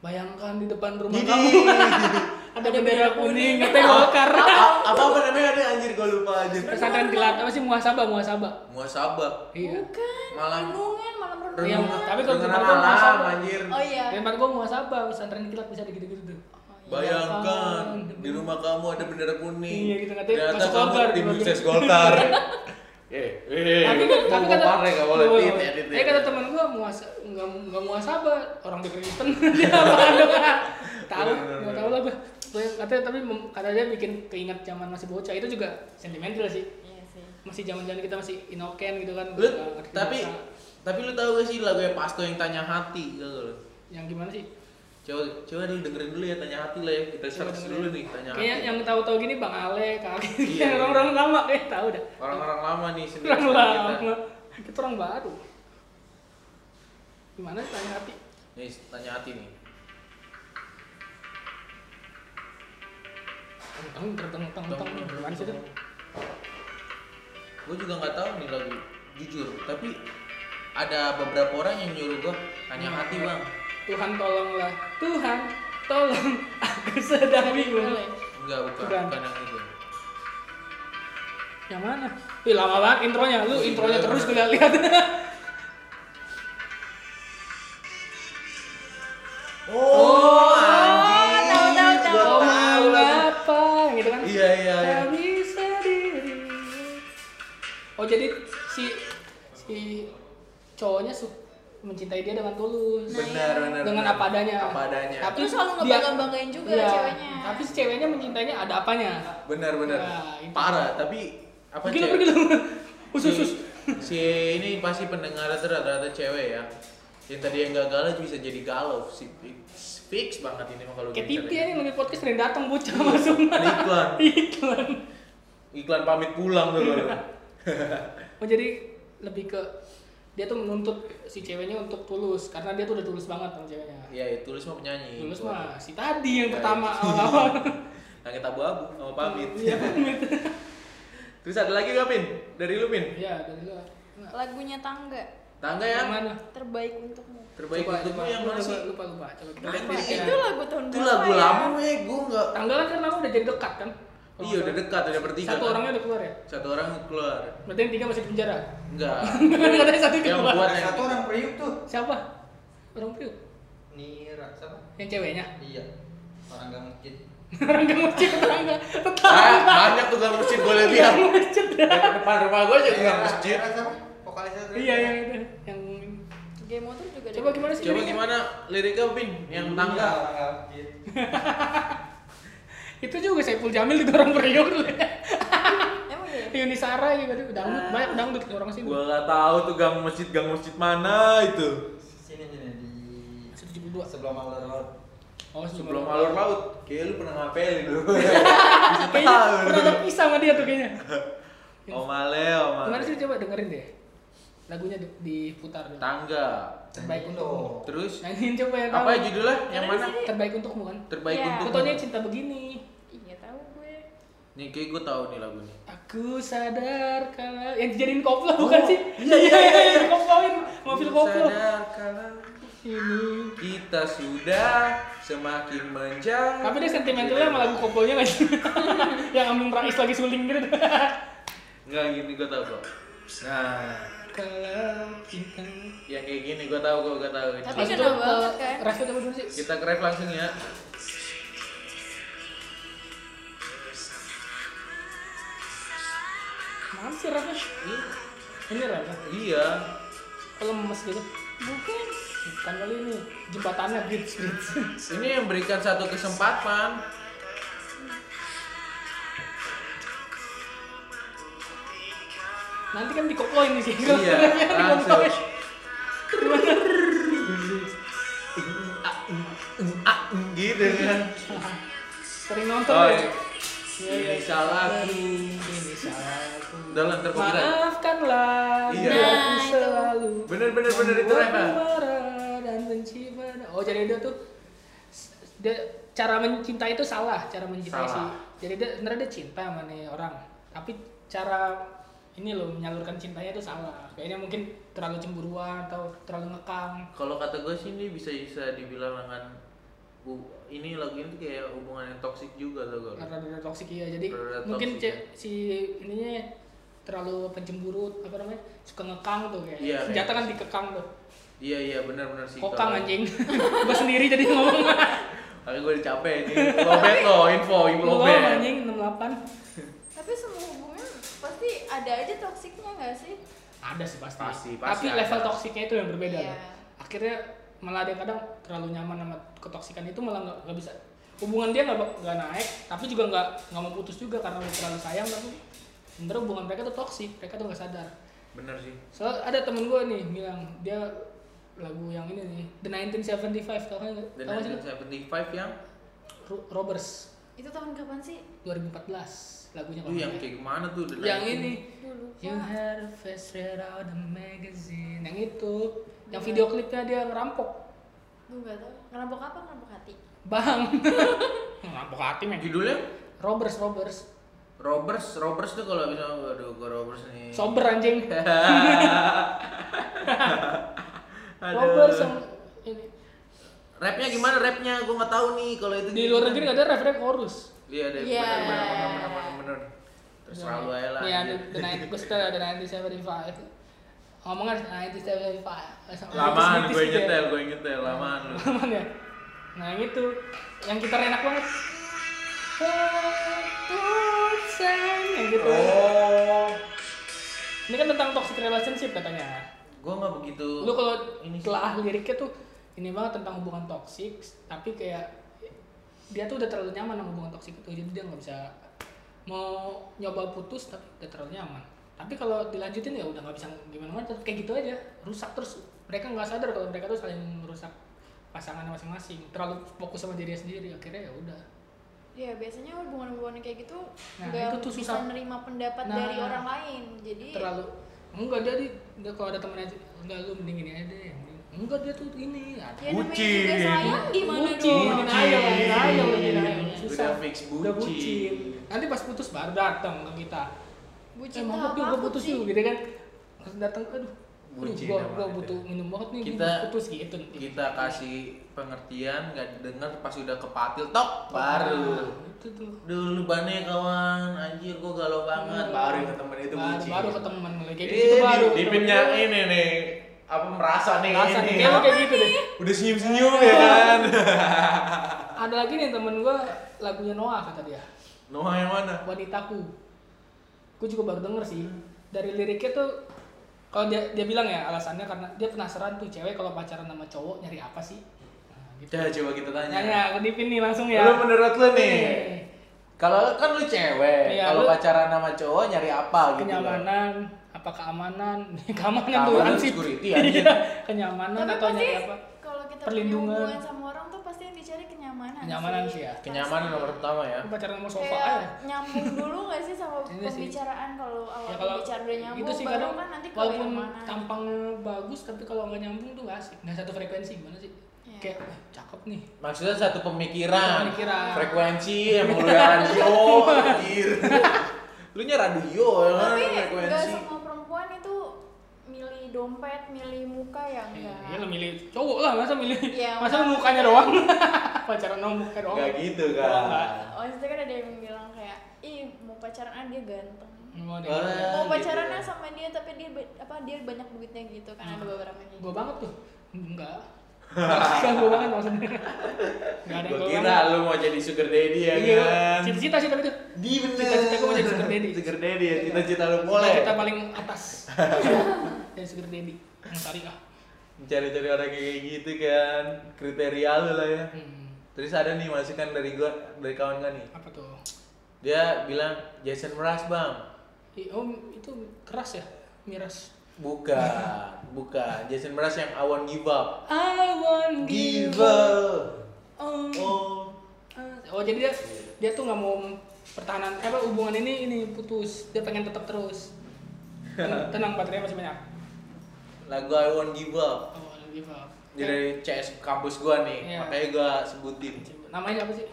Speaker 5: bayangkan di depan rumah
Speaker 4: Jadi-
Speaker 5: kamu ada bendera kuning, katanya Golkar.
Speaker 4: A- apa apa namanya ada anjir gua lupa anjir
Speaker 5: Pesantren kilat apa sih muasabah muasabah.
Speaker 4: muasabah
Speaker 5: Iya.
Speaker 6: Bukan.
Speaker 4: Malam.
Speaker 6: Renungan, malam renungan.
Speaker 5: Iya, tapi kalau
Speaker 4: Dengan
Speaker 5: kita ngomong
Speaker 4: alam
Speaker 5: sama-
Speaker 4: anjir
Speaker 6: Oh iya.
Speaker 5: Tempat gua muasabah, pesantren kilat bisa ada gitu-gitu tuh.
Speaker 4: bayangkan di rumah kamu ada bendera kuning
Speaker 5: Iya, gitu, katanya
Speaker 4: ternyata
Speaker 5: masuk
Speaker 4: kamu
Speaker 5: Golkar. gitu.
Speaker 4: tim sukses golkar eh eh
Speaker 5: tapi kan tapi
Speaker 4: mau
Speaker 5: kata
Speaker 4: parah gak boleh
Speaker 5: Nggak
Speaker 4: tit ya, tit,
Speaker 5: tapi
Speaker 4: ya.
Speaker 5: kata teman gua muasa nggak nggak muasabah orang di Kristen dia apaan dong
Speaker 4: Bener,
Speaker 5: tahu
Speaker 4: bener,
Speaker 5: nggak tahu lah gua Gua yang katanya tapi mem- kata dia bikin keinget zaman masih bocah itu juga sentimental sih
Speaker 6: Iya sih.
Speaker 5: masih zaman zaman kita masih inoken gitu kan
Speaker 4: lu
Speaker 5: nggak ngerti
Speaker 4: tapi
Speaker 5: masa.
Speaker 4: tapi lu tahu gak sih lagu yang Pasto yang tanya hati gak lu
Speaker 5: yang gimana sih
Speaker 4: coba coba dulu dengerin dulu ya tanya hati lah ya kita search
Speaker 5: dengerin.
Speaker 4: dulu nih tanya
Speaker 5: kayaknya
Speaker 4: hati
Speaker 5: yang tahu-tahu gini bang Ale kak
Speaker 4: Iya.
Speaker 5: yang orang-orang lama kayak tahu dah
Speaker 4: orang-orang lama nih sendiri
Speaker 5: orang lama kita orang baru gimana sih tanya hati
Speaker 4: nih tanya hati nih
Speaker 5: teng teng teng teng teng gimana sih tuh?
Speaker 4: gue juga nggak tahu nih lagu
Speaker 5: Hmm.
Speaker 4: jujur tapi ada beberapa orang yang nyuruh gue tanya hati bang
Speaker 5: Tuhan tolonglah Tuhan tolong aku sedang Iya, bingung
Speaker 4: Enggak, bukan,
Speaker 5: Bukan.
Speaker 4: bukan yang itu.
Speaker 5: yang mana? Ih lama banget intronya, lu intronya terus gue lihat.
Speaker 4: Oh, anjing.
Speaker 6: tahu, tahu,
Speaker 4: Gua
Speaker 6: tahu.
Speaker 5: Kau
Speaker 4: tahu
Speaker 5: mau
Speaker 4: lagi.
Speaker 5: ah, apa? Gitu kan?
Speaker 4: Iya, iya, iya.
Speaker 5: Tak bisa diri. Oh jadi si si cowoknya su mencintai dia dengan tulus.
Speaker 4: Benar, benar.
Speaker 5: dengan
Speaker 4: benar.
Speaker 5: apa adanya.
Speaker 4: Apa adanya.
Speaker 5: Tapi
Speaker 6: Terus selalu
Speaker 5: dia-
Speaker 6: ngebangga-banggain juga
Speaker 5: Iya.
Speaker 6: ceweknya.
Speaker 5: Tapi si ceweknya mencintainya ada apanya?
Speaker 4: Benar, benar.
Speaker 5: Ya, itu.
Speaker 4: Parah, tapi apa Iya.
Speaker 5: Pergi lu
Speaker 4: cewek-
Speaker 5: pergi lu. Usus usus.
Speaker 4: Si, si ini pasti pendengar itu rata-rata cewek ya. Yang tadi yang gak galau bisa jadi galau. Si fix, fix banget ini mah kalau
Speaker 5: Kayak
Speaker 4: gini
Speaker 5: TV
Speaker 4: caranya.
Speaker 5: ini lebih podcast sering datang bocah langsung.
Speaker 4: Ada iklan.
Speaker 5: Iya. Iklan.
Speaker 4: Iklan pamit pulang tuh kalau.
Speaker 5: Iya. Oh jadi lebih ke dia tuh menuntut si ceweknya untuk tulus karena dia tuh udah tulus banget sama ceweknya.
Speaker 4: ya, ya, tulis mah penyanyi.
Speaker 5: Tulus
Speaker 4: Gua-
Speaker 5: mah si tadi yang
Speaker 4: Ya,
Speaker 5: pertama
Speaker 4: ya.
Speaker 5: awal-awal.
Speaker 4: Langit Nah, abu-abu sama pamit.
Speaker 5: Iya pamit.
Speaker 4: Terus ada lagi gak, Pin? Dari lu, Pin?
Speaker 5: Iya dari lu. Nah,
Speaker 6: Lagunya Tangga
Speaker 4: Tangga ya?
Speaker 5: Yang mana?
Speaker 6: terbaik untukmu.
Speaker 4: Terbaik
Speaker 5: Coba,
Speaker 4: untukmu
Speaker 5: coba.
Speaker 4: yang mana
Speaker 5: lupa,
Speaker 4: sih?
Speaker 5: Lupa lupa. Coba kita
Speaker 4: Apa?
Speaker 5: lihat
Speaker 6: Wah,
Speaker 5: liriknya.
Speaker 6: itu lagu tahun
Speaker 4: Itu
Speaker 6: berapa
Speaker 4: lagu
Speaker 6: ya?
Speaker 4: lama ya, gue gak...
Speaker 5: Tanggal kan karena udah jadi dekat kan? Kalau
Speaker 4: Iya, udah
Speaker 5: nggak
Speaker 4: dekat, udah
Speaker 5: salah.
Speaker 4: bertiga.
Speaker 5: Satu
Speaker 4: kan?
Speaker 5: orangnya udah keluar ya.
Speaker 4: Satu orang keluar.
Speaker 5: Berarti yang tiga masih di penjara.
Speaker 4: Enggak.
Speaker 5: Kan katanya satu
Speaker 4: yang
Speaker 5: keluar.
Speaker 4: buat
Speaker 2: Ada
Speaker 4: yang
Speaker 2: satu orang priuk tuh.
Speaker 5: Siapa? Orang priuk.
Speaker 2: Nira siapa?
Speaker 5: Yang ceweknya.
Speaker 2: Iya. Orang gang masjid.
Speaker 5: Orang gak mau cek tetangga.
Speaker 4: Ah,
Speaker 5: Tetangga.
Speaker 4: banyak tukang masjid boleh
Speaker 5: Iya,
Speaker 4: lihat. Depan depan rumah
Speaker 5: Oh,
Speaker 4: gue aja tukang
Speaker 2: Nira-
Speaker 4: masjid.
Speaker 2: Nira siapa? Vokalisnya tuh.
Speaker 5: Iya yang itu. Yang
Speaker 6: Game Motor juga
Speaker 5: coba gimana sih?
Speaker 4: Coba
Speaker 5: liriknya?
Speaker 4: gimana liriknya Pin yang
Speaker 2: Iya,
Speaker 4: tangga?
Speaker 2: orang gang masjid.
Speaker 5: Itu juga Saiful Jamil juga orang Priok.
Speaker 6: Emang ya?
Speaker 5: Yuni Sara juga tuh dangdut banyak dangdut orang sini.
Speaker 4: Gua gak tahu tuh gang masjid gang masjid mana itu.
Speaker 2: Sini sini di
Speaker 5: 172.
Speaker 2: sebelum Alor Road.
Speaker 5: Oh,
Speaker 4: Sebelum
Speaker 5: sebelum
Speaker 4: alur laut, kayak lu pernah ngapelin lu.
Speaker 5: Kayaknya
Speaker 4: Ah,
Speaker 5: pernah ada pisah sama dia tuh kayaknya.
Speaker 4: Omale,
Speaker 5: Gimana
Speaker 4: omale.
Speaker 5: sih coba dengerin deh. Lagunya di- diputar dulu.
Speaker 4: Tangga.
Speaker 5: Terbaik
Speaker 2: Ini
Speaker 5: untukmu.
Speaker 2: dong.
Speaker 4: Terus
Speaker 5: Nyanyiin coba yang tahu.
Speaker 4: apa ya judulnya? Yang
Speaker 6: Ada di
Speaker 4: mana?
Speaker 6: sini.
Speaker 5: Terbaik untukmu kan.
Speaker 4: Terbaik
Speaker 6: Iya.
Speaker 4: untuk.
Speaker 5: Fotonya cinta begini.
Speaker 6: Iya tahu gue.
Speaker 4: Nih kayak gue tahu nih lagunya.
Speaker 5: Aku sadar kalau yang dijadiin koplo bukan sih?
Speaker 4: iya, iya, iya, iya.
Speaker 5: yang dikoplain mobil
Speaker 4: Ku
Speaker 5: koplo.
Speaker 4: sadar kalau
Speaker 5: Ini.
Speaker 4: kita sudah semakin menjauh.
Speaker 5: Tapi dia sentimentalnya sama lagu koplonya nggak sih? yang Amin Rais lagi suling gitu.
Speaker 4: Enggak gini gue tahu kok. Nah,
Speaker 5: kalau cinta
Speaker 4: yang kayak gini gue tahu kok, gue tahu.
Speaker 6: Tapi
Speaker 5: Langsung
Speaker 6: kena
Speaker 5: ke
Speaker 6: banget kan?
Speaker 5: Raffi eh, apa dulu sih?
Speaker 4: Kita ke rap langsung ya.
Speaker 5: Mana sih Raffi?
Speaker 4: Ih,
Speaker 5: Ini Raffi.
Speaker 4: Iya.
Speaker 5: Kalau lemes gitu.
Speaker 6: Bukan.
Speaker 5: Bukan kali ini. Jembatannya bridge bridge.
Speaker 4: Ini yang berikan satu kesempatan.
Speaker 5: Nanti kan dikoploin nih sih.
Speaker 4: Iya, langsung. Ah, gitu kan.
Speaker 5: Sering nonton
Speaker 4: Oh,
Speaker 5: ya. Iya, iya.
Speaker 4: ini salahku.
Speaker 5: Ini salahku.
Speaker 4: Udah lah, ntar copyright.
Speaker 5: Maafkanlah
Speaker 4: Iya.
Speaker 5: aku
Speaker 6: Nah, itu.
Speaker 5: selalu
Speaker 4: Bener bener bener itu
Speaker 5: membuatmu
Speaker 4: rap. Pak.
Speaker 5: marah dan benci pada Oh jadi dia tuh s- dia cara mencintai itu salah cara mencintai
Speaker 4: Salah.
Speaker 5: sih. Jadi dia sebenarnya dia cinta sama nih orang tapi cara ini loh menyalurkan cintanya itu salah. Kayaknya mungkin terlalu cemburuan atau terlalu ngekang.
Speaker 4: Kalau kata gue sih ini bisa bisa dibilang dengan hu- ini lagu ini tuh kayak hubungan yang toksik juga tuh gue.
Speaker 5: Rada-rada toksik ya. Jadi
Speaker 4: Rada-rada iya.
Speaker 5: mungkin
Speaker 4: toksik,
Speaker 5: ce- si ininya terlalu pencemburu apa namanya suka ngekang tuh kayak
Speaker 4: Iya,
Speaker 5: senjata
Speaker 4: kayak-
Speaker 5: kan dikekang tuh
Speaker 4: Iya iya benar benar sih.
Speaker 5: kokang
Speaker 4: kalau-
Speaker 5: anjing gua sendiri jadi ngomong
Speaker 4: Tapi gue udah capek ini. Lobet lo, info, info
Speaker 5: belum
Speaker 4: lobet.
Speaker 5: anjing 68
Speaker 6: Tapi semua hubungan pasti ada aja toksiknya nggak sih?
Speaker 5: ada sih pasti,
Speaker 4: Pasti,
Speaker 5: tapi
Speaker 4: pasti ada.
Speaker 5: level toksiknya itu yang berbeda
Speaker 6: Iya.
Speaker 5: loh. akhirnya malah ada yang kadang terlalu nyaman sama ketoksikan itu malah nggak nggak bisa hubungan dia nggak nggak naik tapi juga nggak nggak mau putus juga karena udah terlalu sayang tapi sebenernya hubungan mereka tuh toksik mereka tuh nggak sadar
Speaker 4: Bener sih.
Speaker 5: so ada temen gue nih bilang dia lagu yang ini nih The 1975 tau kan
Speaker 4: Dan
Speaker 5: tau nggak sih lu?
Speaker 4: 75 yang
Speaker 5: Ro- Roberts
Speaker 6: Itu tahun kapan sih?
Speaker 5: 2014 lagunya
Speaker 4: Aduh
Speaker 5: kalau
Speaker 4: yang
Speaker 5: nggak
Speaker 4: kayak gimana tuh?
Speaker 5: salah.
Speaker 4: The
Speaker 5: yang
Speaker 4: 19.
Speaker 5: ini
Speaker 6: Dulu.
Speaker 5: You had a face read out of magazine Yang itu Yang video klipnya dia ngerampok
Speaker 6: Gue nggak tahu. Ngerampok apa? Ngerampok hati.
Speaker 5: Bang Ngerampok hati men
Speaker 4: Judulnya?
Speaker 5: Robbers, Robbers
Speaker 4: Roberts, Roberts tuh kalau bisa, aduh gue Roberts nih.
Speaker 5: Sober anjing
Speaker 4: Aduh.
Speaker 5: Robbers yang ini
Speaker 4: Rapnya gimana rapnya? Gue nggak tahu nih kalau itu
Speaker 5: di luar negeri ada rap rap chorus
Speaker 4: Iya ada
Speaker 6: Iya.
Speaker 4: benar benar benar benar benar benar. Terus selalu aja lah.
Speaker 5: Iya,
Speaker 4: anjir.
Speaker 5: the night gue setel ada nineteen seventy five. Ngomongnya nineteen seventy five. Eh,
Speaker 4: Lamaan
Speaker 5: gitu
Speaker 4: gue
Speaker 5: ya.
Speaker 4: nyetel, gue nyetel lamaan lu.
Speaker 5: Lamaan ya. Nah yang itu yang kita enak banget. Tuhan, yang gitu.
Speaker 4: Oh.
Speaker 5: Ini kan tentang toxic relationship katanya.
Speaker 4: Gue nggak begitu.
Speaker 5: Lu kalau
Speaker 4: Ini sih.
Speaker 5: telah liriknya tuh ini banget tentang hubungan toksik, tapi kayak dia tuh udah terlalu nyaman sama hubungan toksik itu, jadi dia nggak bisa mau nyoba putus tapi udah terlalu nyaman. Tapi kalau dilanjutin ya udah nggak bisa gimana mana tetap kayak gitu aja, rusak terus. Mereka nggak sadar kalau mereka tuh saling merusak pasangannya masing-masing. Terlalu fokus sama dirinya sendiri, akhirnya ya udah.
Speaker 6: Ya biasanya hubungan-hubungan kayak gitu
Speaker 5: Nah,
Speaker 6: nggak
Speaker 5: itu tuh
Speaker 6: bisa
Speaker 5: susah.
Speaker 6: nerima pendapat
Speaker 5: Nah.
Speaker 6: dari orang lain. Jadi
Speaker 5: terlalu enggak jadi dia kalau ada temennya enggak lu mending ini aja deh mending- enggak dia tuh ini ada
Speaker 6: ya namanya juga
Speaker 4: Bucin.
Speaker 6: sayang gimana
Speaker 5: bucin
Speaker 6: dong?
Speaker 5: denial denial denial
Speaker 4: Udah fix
Speaker 5: udah
Speaker 4: bucin.
Speaker 5: bucin nanti pas putus baru datang ke kita
Speaker 6: Bucin
Speaker 5: eh,
Speaker 6: tak
Speaker 5: mampus yuk
Speaker 6: apa
Speaker 5: gue putus
Speaker 6: sih?
Speaker 5: yuk gitu kan terus datang aduh aduh
Speaker 4: Bucin
Speaker 5: gua
Speaker 4: emang
Speaker 5: gua
Speaker 4: itu.
Speaker 5: butuh minum banget nih
Speaker 4: Kita-
Speaker 5: gua putus gitu nanti.
Speaker 4: Kita kasih pengertian, nggak denger pas udah kepatil tok baru.
Speaker 5: Nah, itu tuh
Speaker 4: Dulu bane kawan, anjir gue galau banget. Baru yang temen itu
Speaker 5: Iya. baru,
Speaker 4: bucin.
Speaker 5: baru ke temen lagi kayak
Speaker 4: Ini
Speaker 5: gitu baru
Speaker 4: di, dipinnya ini nih apa merasa nih
Speaker 5: Merasa
Speaker 4: ini
Speaker 5: nih, kayak Iya. lu kayak gitu deh
Speaker 4: udah senyum senyum ya kan
Speaker 5: ada lagi nih temen gua lagunya Noah kata dia
Speaker 4: Noah yang mana
Speaker 5: wanitaku gue juga baru denger sih dari liriknya tuh kalau dia dia bilang ya alasannya karena dia penasaran tuh cewek kalau pacaran sama cowok nyari apa sih nah, gitu
Speaker 4: Dah, coba kita
Speaker 5: nah,
Speaker 4: tanya
Speaker 5: ya, aku dipin nih langsung ya Iya.
Speaker 4: lu menurut lu nih
Speaker 5: Nih,
Speaker 4: kalau kan lu cewek
Speaker 5: Iya,
Speaker 4: kalau
Speaker 5: lu-
Speaker 4: pacaran sama cowok nyari apa gitu loh.
Speaker 5: kenyamanan apa keamanan keamanan tuh
Speaker 4: Keamanan,
Speaker 5: ansip
Speaker 4: security, anjing.
Speaker 5: iya kenyamanan
Speaker 6: Tapi
Speaker 5: atau
Speaker 6: pasti
Speaker 5: nyari apa
Speaker 6: kalau kita
Speaker 5: Perlindungan.
Speaker 6: punya hubungan sama orang tuh pasti yang dicari kenyamanan.
Speaker 5: Kenyamanan sih ya.
Speaker 4: kenyamanan nomor pertama ya
Speaker 5: Aku pacaran sama sofa
Speaker 6: Kayak
Speaker 5: aja
Speaker 6: nyambung dulu gak sih sama
Speaker 5: Ini sih.
Speaker 6: pembicaraan kalau awal
Speaker 5: ya kalau
Speaker 6: pembicaraan udah nyambung
Speaker 5: itu sih
Speaker 6: baru
Speaker 5: kadang
Speaker 6: kan nanti ke
Speaker 5: walaupun
Speaker 6: kenyamanan.
Speaker 5: tampangnya bagus tapi kalau nggak nyambung tuh nggak asik nggak satu frekuensi gimana sih
Speaker 6: Iya.
Speaker 5: kayak "Wah, cakep nih
Speaker 4: maksudnya satu pemikiran,
Speaker 5: Pemikiran.
Speaker 4: frekuensi emang lu ya radio anjir lu nya radio ya kan
Speaker 6: Tapi gak
Speaker 4: frekuensi
Speaker 6: semua perempuan itu milih dompet, milih muka ya enggak.
Speaker 5: Iya lah milih cowok lah masa milih
Speaker 6: Iya,
Speaker 5: masa
Speaker 6: makanya.
Speaker 5: mukanya doang pacaran sama muka doang.
Speaker 4: nggak gitu
Speaker 5: Doang,
Speaker 4: kan
Speaker 5: nggak.
Speaker 6: Oh, itu kan ada yang bilang kayak, "Ih, mau pacaran ah, dia ganteng."
Speaker 5: Mau deh.
Speaker 4: Eh,
Speaker 6: Mau
Speaker 4: gitu.
Speaker 6: pacaran ah sama dia tapi dia ba- apa dia banyak duitnya gitu kan ada beberapa yang kayak
Speaker 5: Hmm. Gua
Speaker 6: gitu.
Speaker 5: banget tuh. Enggak. Enggak gua banget maksudnya. Enggak ada yang
Speaker 4: Gua
Speaker 5: gua
Speaker 4: kira
Speaker 5: banget.
Speaker 4: lu mau jadi sugar daddy ya
Speaker 5: Iya.
Speaker 4: kan?
Speaker 5: Cita-cita sih tapi itu.
Speaker 4: Di bener.
Speaker 5: Cita-cita gua mau jadi sugar daddy.
Speaker 4: Sugar daddy ya, cita-cita lu boleh.
Speaker 5: Kita paling atas. Jadi sugar daddy. Yang ah. syariah.
Speaker 4: Mencari-cari orang kayak gitu kan, kriteria lu lah ya.
Speaker 5: Hmm.
Speaker 4: Terus ada nih masukan dari gua, dari kawan gua nih.
Speaker 5: Apa tuh?
Speaker 4: Dia bilang Jason Mraz bang.
Speaker 5: Ih, Oh, itu keras ya. Miras.
Speaker 4: Bukan, bukan. Jason Mraz yang I won't give up.
Speaker 5: I won't give
Speaker 4: Give
Speaker 5: up.
Speaker 4: up.
Speaker 5: on
Speaker 4: Oh.
Speaker 5: Oh jadi dia dia tuh nggak mau pertahanan eh, apa hubungan ini ini putus dia pengen tetap terus tenang, tenang baterai masih banyak
Speaker 4: Lagu I won't give up.
Speaker 5: oh, I'll give up.
Speaker 4: Jadi dari CS kampus gua nih,
Speaker 5: Iya.
Speaker 4: makanya gua sebutin.
Speaker 5: namanya apa sih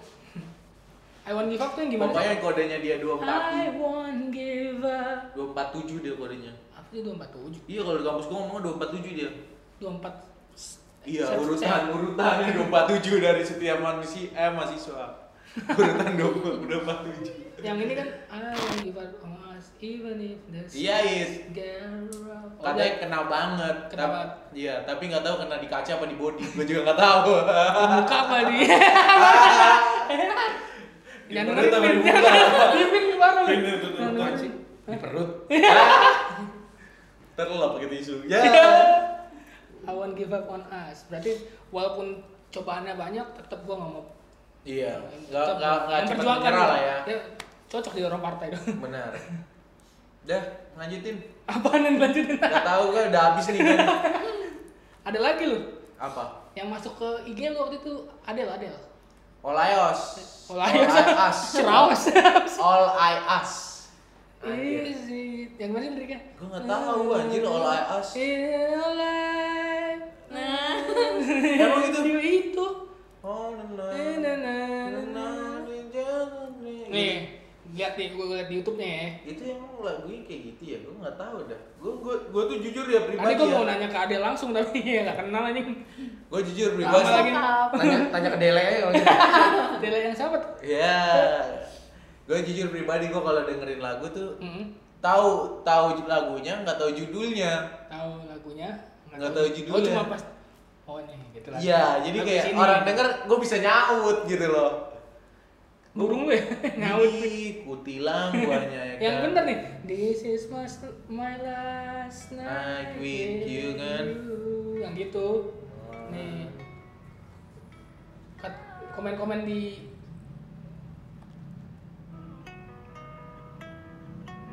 Speaker 5: I won't give up tuh yang gimana
Speaker 4: Pokoknya gitu,
Speaker 5: sih?
Speaker 4: kodenya dia
Speaker 5: I
Speaker 4: 247.
Speaker 5: won't give up
Speaker 4: 247 dia kodenya.
Speaker 5: apa sih dua empat tujuh
Speaker 4: Iya kalau di kampus gua ngomongnya 247 dia.
Speaker 5: dua empat
Speaker 4: Iya,
Speaker 5: Set-
Speaker 4: urutan urutannya 247 dari setiap manusia eh mahasiswa. Urutan 247.
Speaker 5: yang ini kan I won't give up on us even if the
Speaker 4: Iya, Is.
Speaker 5: girl oh,
Speaker 4: Katanya
Speaker 5: dia-
Speaker 4: kena banget.
Speaker 5: Kena
Speaker 4: Tap-
Speaker 5: banget.
Speaker 4: Iya, tapi nggak tahu kena di kaca apa di body. Gue juga nggak tahu.
Speaker 5: muka apa dia
Speaker 4: Di
Speaker 5: Jangan
Speaker 4: perut apa di
Speaker 5: dengerin,
Speaker 4: muka?
Speaker 5: Pin baru.
Speaker 4: Ini tuh, tuh, tuh, anjing. Di perut. Ntar lo pakai tisu. Ya.
Speaker 5: Iya. I won't give up on us. Berarti walaupun cobaannya banyak, tetap gua nggak mau.
Speaker 4: Iya, nggak
Speaker 5: tetap
Speaker 4: nggak nggak cepat
Speaker 5: memperjuangkan gitu.
Speaker 4: menyerah
Speaker 5: gua.
Speaker 4: lah ya.
Speaker 5: Dia cocok di orang partai dong.
Speaker 4: Benar. Dah, lanjutin.
Speaker 5: Apaan yang lanjutin?
Speaker 4: Nggak tahu kan udah habis nih kan.
Speaker 5: Ada lagi loh
Speaker 4: Apa?
Speaker 5: yang masuk ke IG lu waktu itu Adel Adel.
Speaker 4: Olayos.
Speaker 5: Olayos.
Speaker 4: All I us.
Speaker 5: Cerawas.
Speaker 4: All I us. Anjir.
Speaker 5: Is it- yang mana sih liriknya?
Speaker 4: Gua nggak tahu, Oh, anjir, all I ask.
Speaker 5: In all I-
Speaker 6: Nah,
Speaker 4: Emang gitu?
Speaker 5: Itu itu.
Speaker 4: Oh, na, na,
Speaker 5: Na, na, na,
Speaker 4: na, na, di jalan nih.
Speaker 5: Nih, lihat nih gua lihat di YouTube-nya ya.
Speaker 4: Itu emang lagunya kayak gitu ya, gue nggak tahu dah. Gue gue gue tuh jujur ya
Speaker 5: Tadi
Speaker 4: pribadi
Speaker 5: gua mau
Speaker 4: ya.
Speaker 5: nanya ke Adel langsung tapi ya nggak kenal anjing.
Speaker 4: Gua Gue jujur pribadi.
Speaker 5: Sama lagi.
Speaker 6: Cakap.
Speaker 2: Tanya, tanya ke Dele aja kalau gitu.
Speaker 5: Dela yang siapa? tuh?
Speaker 4: Ya. Gue jujur pribadi gue kalau dengerin lagu tuh
Speaker 5: Mm-mm.
Speaker 4: tahu tahu lagunya nggak tahu judulnya.
Speaker 5: Tahu lagunya?
Speaker 4: Nggak tahu
Speaker 5: Oh
Speaker 4: judulnya.
Speaker 5: cuma pas Oh ini gitu lah.
Speaker 4: Iya, jadi
Speaker 5: Lagu
Speaker 4: kayak
Speaker 5: sini.
Speaker 4: orang denger gue bisa nyaut gitu loh.
Speaker 5: burung gue nyaut.
Speaker 4: Ih, Kutilang guanya ya.
Speaker 5: Yang
Speaker 4: kan?
Speaker 5: bener nih. This is my, my last
Speaker 4: Night
Speaker 5: night
Speaker 4: with you, kan? Oh.
Speaker 5: you. Yang gitu. Nih. Kat- Komen-komen di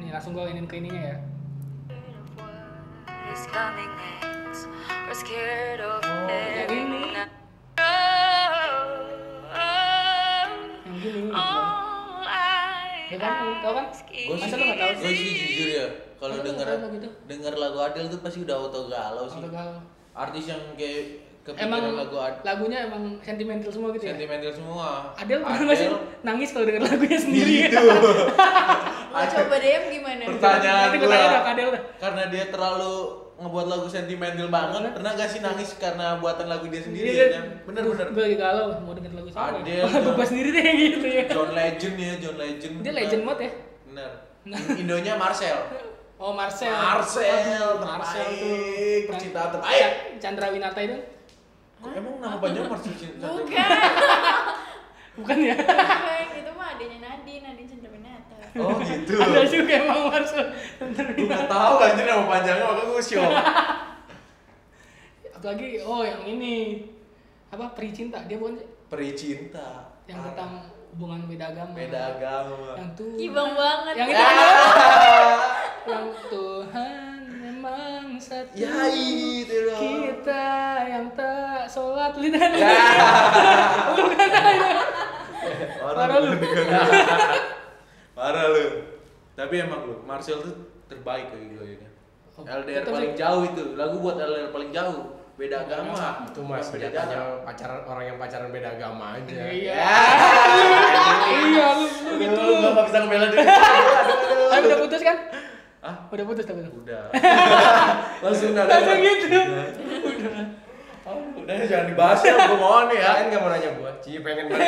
Speaker 5: Nih langsung gue inin ke ininya ya.
Speaker 1: His cunning hands were scared of
Speaker 5: Oh, yang ini.
Speaker 1: every night. Oh,
Speaker 5: Yang gini. gitu.
Speaker 6: Oh.
Speaker 1: all I
Speaker 5: Ya kan, tau kan?
Speaker 1: ask
Speaker 4: Gue sih,
Speaker 5: Masa
Speaker 1: is
Speaker 5: lu nggak tahu
Speaker 4: gue sih jujur ya, kalau
Speaker 5: Masa lu
Speaker 4: denger
Speaker 5: nggak tahu lagu itu?
Speaker 4: denger lagu Adele tuh pasti udah auto galau sih.
Speaker 5: Auto galau.
Speaker 4: Artis yang kayak
Speaker 5: Emang
Speaker 4: kepikiran lagu Adele
Speaker 5: lagunya emang sentimental semua gitu ya.
Speaker 4: sentimental semua.
Speaker 5: Adele pernah nggak sih nangis kalau denger lagunya sendiri?
Speaker 4: Gitu.
Speaker 6: Lo coba DM gimana?
Speaker 4: Pertanyaan
Speaker 5: Nanti gue
Speaker 4: gue,
Speaker 5: tanya dah ke Adele dah.
Speaker 4: karena dia terlalu ngebuat lagu sentimental banget, pernah gak sih nangis karena buatan lagu dia sendiri?
Speaker 5: Iya.
Speaker 4: Ya? Bener bener.
Speaker 5: Gue lagi galau mau denger lagu siapa.
Speaker 4: Adele.
Speaker 5: Lagu gue sendiri deh gitu ya.
Speaker 4: John Legend ya, John Legend.
Speaker 5: Dia
Speaker 4: Bener.
Speaker 5: legend banget ya.
Speaker 4: Bener. Indonya Marcel.
Speaker 5: Oh Marcel.
Speaker 4: Marcel,
Speaker 5: Aduh, Marcel tuh. Nah,
Speaker 4: terbaik, percintaan terbaik.
Speaker 5: Ca- Chandra Winata itu
Speaker 4: Kok emang nama panjang Marcel Cinta?
Speaker 6: Bukan,
Speaker 5: bukan ya?
Speaker 6: bukan. Itu gitu mah adanya Nadine, Nadine Chandrawinata.
Speaker 4: Oh gitu.
Speaker 5: Ada juga emang Marcel. Chandra
Speaker 4: Gue
Speaker 5: Winata.
Speaker 4: nggak tahu anjir nama panjangnya makanya gue syok.
Speaker 5: Apalagi oh yang ini apa peri cinta dia bukan sih?
Speaker 4: Peri cinta.
Speaker 5: yang
Speaker 4: Ah,
Speaker 5: tentang hubungan beda agama.
Speaker 4: beda agama. Ya.
Speaker 5: Yang tuh.
Speaker 6: Kibang banget.
Speaker 5: Yang itu kan? yang Tuhan memang satu.
Speaker 4: Ya itu loh.
Speaker 5: kita yang tak sholat lidah
Speaker 4: Ya. Parah lu. Parah lu. Tapi emang lu Marcel tuh terbaik kayak gitu ya.
Speaker 5: Oh,
Speaker 4: LDR
Speaker 5: tetep
Speaker 4: paling
Speaker 5: sih.
Speaker 4: jauh itu. Lagu buat LDR paling jauh. Beda agama.
Speaker 7: Itu mas
Speaker 4: Beda
Speaker 7: beda
Speaker 4: jarak.
Speaker 7: pacaran, pacaran orang yang pacaran beda agama aja.
Speaker 2: Ya.
Speaker 5: iya iya
Speaker 4: Iya.
Speaker 5: lu lu gitu
Speaker 4: Lu
Speaker 5: lu
Speaker 4: nggak bisa ngebela diri. Aduh, aduh,
Speaker 5: tapi
Speaker 4: aduh.
Speaker 5: udah putus kan
Speaker 4: Hah?
Speaker 5: udah putus tapi lu
Speaker 4: Udah. Langsung nada.
Speaker 5: langsung gitu
Speaker 4: Aduh, Udah jangan dibahas ya, gue mohon ya.
Speaker 7: Kalian nggak mau nanya gua? Iya. Cie pengen banget.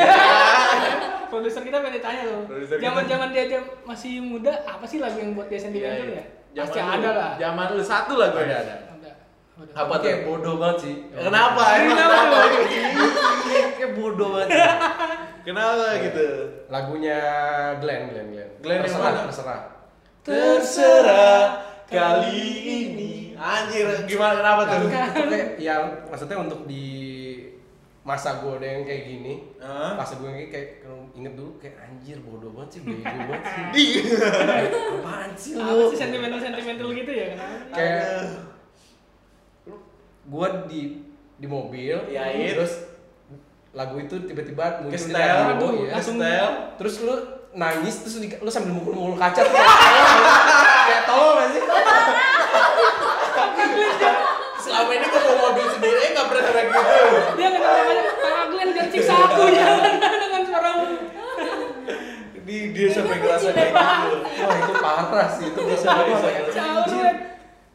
Speaker 5: produser kita pengen tanya lo
Speaker 4: Produser kita.
Speaker 5: zaman zaman dia jam- masih muda apa sih lagu yang buat dia sentimental ya
Speaker 4: Iya, Zaman
Speaker 5: pasti
Speaker 4: lu,
Speaker 5: ada lah
Speaker 4: Zaman lu satu lagu
Speaker 7: Ada,
Speaker 4: ada
Speaker 7: ada.
Speaker 5: ada Ada.
Speaker 4: Apa tuh?
Speaker 7: Kayak bodoh banget sih.
Speaker 4: Kenapa? Emang
Speaker 5: Kenapa?
Speaker 4: kenapa? Iya, Kayak bodoh banget. Kenapa gitu?
Speaker 7: Lagunya Glenn, Glenn, Glenn.
Speaker 4: Glenn yang
Speaker 7: terserah,
Speaker 4: mana?
Speaker 7: terserah.
Speaker 4: Terserah kali ini. Anjir, gimana kenapa tuh?
Speaker 7: Itu kayak yang iya, maksudnya untuk di masa gue udah yang kayak gini,
Speaker 4: Hah?
Speaker 7: pas gue kayak, kayak kalau inget dulu kayak anjir bodoh banget sih, bego banget sih. Apaan sih
Speaker 5: apa
Speaker 7: lu?
Speaker 5: sih sentimental sentimental gitu ya kenapa
Speaker 7: Kayak lu gue di di mobil,
Speaker 4: Yain.
Speaker 7: terus lagu itu tiba-tiba muncul
Speaker 4: Iya, Kestel,
Speaker 7: di radio,
Speaker 5: aduh,
Speaker 7: ya.
Speaker 5: langsung
Speaker 4: Kestel.
Speaker 7: Terus lu nangis terus di- lu sambil mukul-mukul kaca tuh kayak tolong, kayak tolong gak sih?
Speaker 4: Selama ini gue mau mobil sendiri, eh, nggak pernah kayak gitu.
Speaker 5: dia kenapa namanya Pak Glenn jangan siksa aku jangan dengan suaramu
Speaker 4: Iya, Di dia sampai ngerasa kayak gitu.
Speaker 7: Wah itu parah sih itu bisa gitu.
Speaker 4: bisa, bisa.
Speaker 5: Cauret.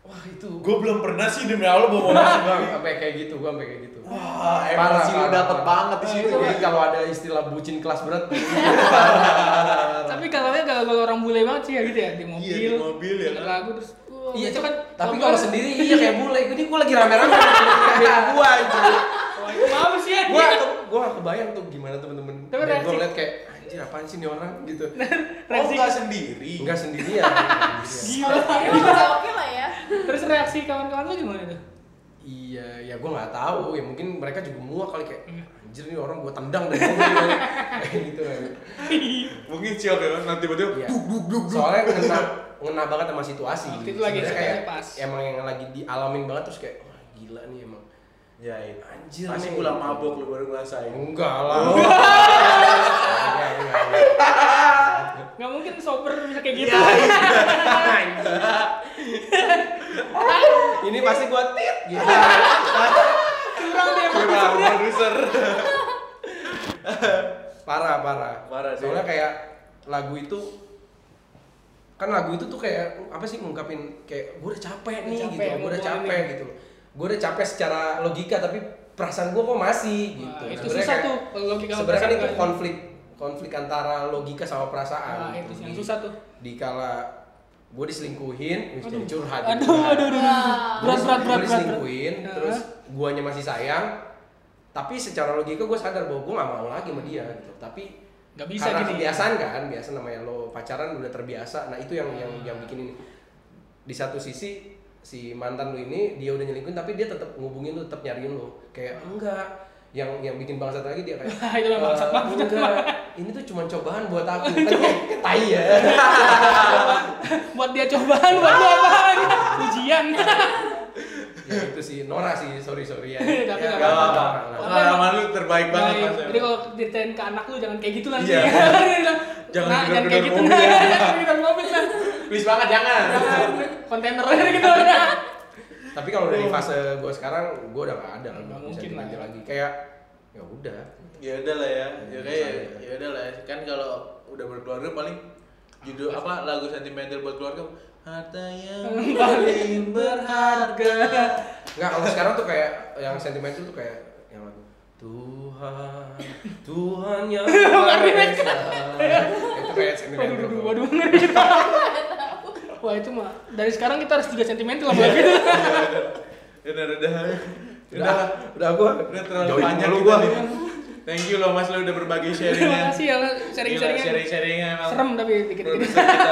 Speaker 7: Wah itu
Speaker 4: Gue belum pernah sih demi Allah bawa mobil
Speaker 7: gua
Speaker 4: sendiri.
Speaker 7: sampai kayak gitu, gua sampai kayak gitu.
Speaker 4: Wah,
Speaker 7: Parah,
Speaker 4: emosi Ah, lu
Speaker 7: parah,
Speaker 4: dapet
Speaker 7: parah.
Speaker 4: banget di situ.
Speaker 7: Jadi kalau ada istilah bucin kelas berat,
Speaker 5: tapi kalau kalau kalau orang bule banget sih ya gitu ya di mobil
Speaker 4: Iya, di mobil ya
Speaker 5: denger
Speaker 4: kan.
Speaker 5: lagu terus wah,
Speaker 7: iya
Speaker 5: itu
Speaker 7: kan.
Speaker 5: kan
Speaker 7: Tapi
Speaker 5: kalau
Speaker 7: kalau
Speaker 5: gua-
Speaker 7: sendiri iya kayak bule. Ini gua lagi rame-rame kayak gua anjir.
Speaker 5: maaf sih ya
Speaker 7: Gua gua gak kebayang tuh gimana temen-temen.
Speaker 5: Tapi
Speaker 7: Dan gua
Speaker 5: reaksi-
Speaker 7: ngeliat kayak anjir apaan sih nih orang gitu.
Speaker 4: Oh,
Speaker 5: reaksi
Speaker 4: nggak sendiri.
Speaker 7: Enggak sendirian.
Speaker 6: Kalau sendiri mah udah oke lah ya.
Speaker 5: terus reaksi kawan-kawan lu gimana tuh
Speaker 7: Iya, ya gua nggak tahu. Ya mungkin mereka juga muak kali kayak
Speaker 5: Iya.
Speaker 7: anjir nih orang gua tendang dari mobil kayak gitu. kan.
Speaker 4: Mungkin siapa ya, nanti tiba-tiba
Speaker 7: Iya. Soalnya ngena ngena banget sama situasi.
Speaker 5: Waktu itu lagi
Speaker 7: Sebenarnya
Speaker 5: situasinya
Speaker 7: kayak
Speaker 5: pas.
Speaker 7: emang yang lagi dialamin banget terus kayak wah gila nih emang.
Speaker 4: Ya, iya.
Speaker 7: Anjir,
Speaker 4: Pasti
Speaker 7: nih.
Speaker 4: pulang mabok lu baru ngerasain.
Speaker 7: Enggak lah. Enggak, enggak, enggak.
Speaker 5: nggak mungkin sober bisa kayak
Speaker 7: Iya,
Speaker 5: gitu
Speaker 7: Ini pasti gua tit gitu.
Speaker 5: curang dia
Speaker 4: Kurang produser.
Speaker 7: Parah, parah.
Speaker 4: Parah, sih.
Speaker 7: Soalnya kayak lagu itu kan lagu itu tuh kayak apa sih ngungkapin kayak gue udah capek nih
Speaker 5: Capek,
Speaker 7: gitu, gue udah
Speaker 5: ngomongin
Speaker 7: capek
Speaker 5: ini.
Speaker 7: gitu. Gue udah capek secara logika tapi perasaan gue kok masih gitu.
Speaker 5: Wah, itu
Speaker 7: Sebenarnya
Speaker 5: susah
Speaker 7: kayak-
Speaker 5: tuh kalau logika
Speaker 7: Sebenarnya kan
Speaker 5: perasaan
Speaker 7: itu
Speaker 5: kan.
Speaker 7: konflik konflik antara logika sama perasaan.
Speaker 5: Nah,
Speaker 7: gitu.
Speaker 5: itu yang
Speaker 7: Di-
Speaker 5: susah tuh.
Speaker 7: Dikala gue diselingkuhin, wih, jadi
Speaker 5: Aduh.
Speaker 7: curhat.
Speaker 5: Aduh,
Speaker 7: gitu.
Speaker 5: aduh, aduh, aduh. Berat, berat, berat,
Speaker 7: Gue
Speaker 5: berat, berat.
Speaker 7: diselingkuhin,
Speaker 5: Hah?
Speaker 7: terus guanya masih sayang. Tapi secara logika gue sadar bahwa gue gak mau lagi sama dia gitu. Tapi
Speaker 5: Gak bisa
Speaker 7: karena
Speaker 5: gini.
Speaker 7: kebiasaan kan, biasa namanya lo pacaran udah terbiasa. Nah itu yang yang yang bikin ini. Di satu sisi si mantan lu ini dia udah nyelingkuhin tapi dia tetap ngubungin lu, tetap nyariin lu. Kayak enggak. Yang yang bikin bangsat lagi dia kayak
Speaker 5: Wah, itu memang Ah, bangsat
Speaker 7: "Eh,
Speaker 5: banget."
Speaker 7: enggak, ini tuh cuma cobaan buat aku. Kan kayak tai ya.
Speaker 5: Buat dia cobaan, buat dia apaan? Ujian.
Speaker 7: Iya, ya itu sih Nora sih, sorry sorry ya.
Speaker 5: Tapi
Speaker 7: Ya,
Speaker 5: nggak
Speaker 7: nggak
Speaker 5: apa-apa.
Speaker 7: apa-apa, nggak apa-apa.
Speaker 4: Pengalaman lu terbaik banget
Speaker 5: Baik.
Speaker 4: mas.
Speaker 5: Jadi kalau ceritain ke anak lu jangan kayak gitu nanti.
Speaker 4: Iya.
Speaker 5: Dia bilang,
Speaker 4: Jangan
Speaker 5: "Nah, jangan kayak
Speaker 4: gedor-gedor
Speaker 5: gitu.
Speaker 4: mobil."
Speaker 5: nah.
Speaker 7: iya.
Speaker 5: Jangan gedor mobil nah.
Speaker 4: Please banget jangan.
Speaker 5: Kontainer gitu.
Speaker 7: Iya.
Speaker 5: nah.
Speaker 7: Tapi kalau dari fase gue sekarang, gue udah gak ada, kan,
Speaker 5: Nggak
Speaker 7: nggak bisa
Speaker 5: Oh. mungkin lah
Speaker 7: diganti
Speaker 5: ya.
Speaker 7: lagi. Kayak ya udah.
Speaker 4: ya udah lah ya. Ya
Speaker 7: Ya,
Speaker 4: kayak
Speaker 7: misalnya.
Speaker 4: ya udah lah ya. Kan kalau udah berkeluarga paling judul apa lagu sentimental buat keluarga harta yang paling berharga.
Speaker 7: Enggak, kalau sekarang tuh kayak yang sentimental tuh kayak yang lagu Tuhan, Tuhan yang Maha Esa. Itu kayak
Speaker 5: Waduh,
Speaker 7: sentimental.
Speaker 5: waduh, waduh, ngeri. Wah itu mah dari sekarang kita harus juga sentimental sama
Speaker 7: Iya.
Speaker 5: gitu.
Speaker 4: Udah udah
Speaker 7: Udah,
Speaker 4: udah
Speaker 7: udah gua
Speaker 4: udah terlalu
Speaker 7: jauhin
Speaker 4: panjang
Speaker 7: mulu
Speaker 4: kita
Speaker 7: gua.
Speaker 4: nih. Thank you loh mas lo udah berbagi
Speaker 5: Terima
Speaker 4: sharingnya. Iya,
Speaker 5: kasih ya lo
Speaker 7: Iya,
Speaker 5: sharing-sharingnya.
Speaker 4: sharing sharingnya
Speaker 5: Serem tapi dikit-dikit.
Speaker 4: Produser kita.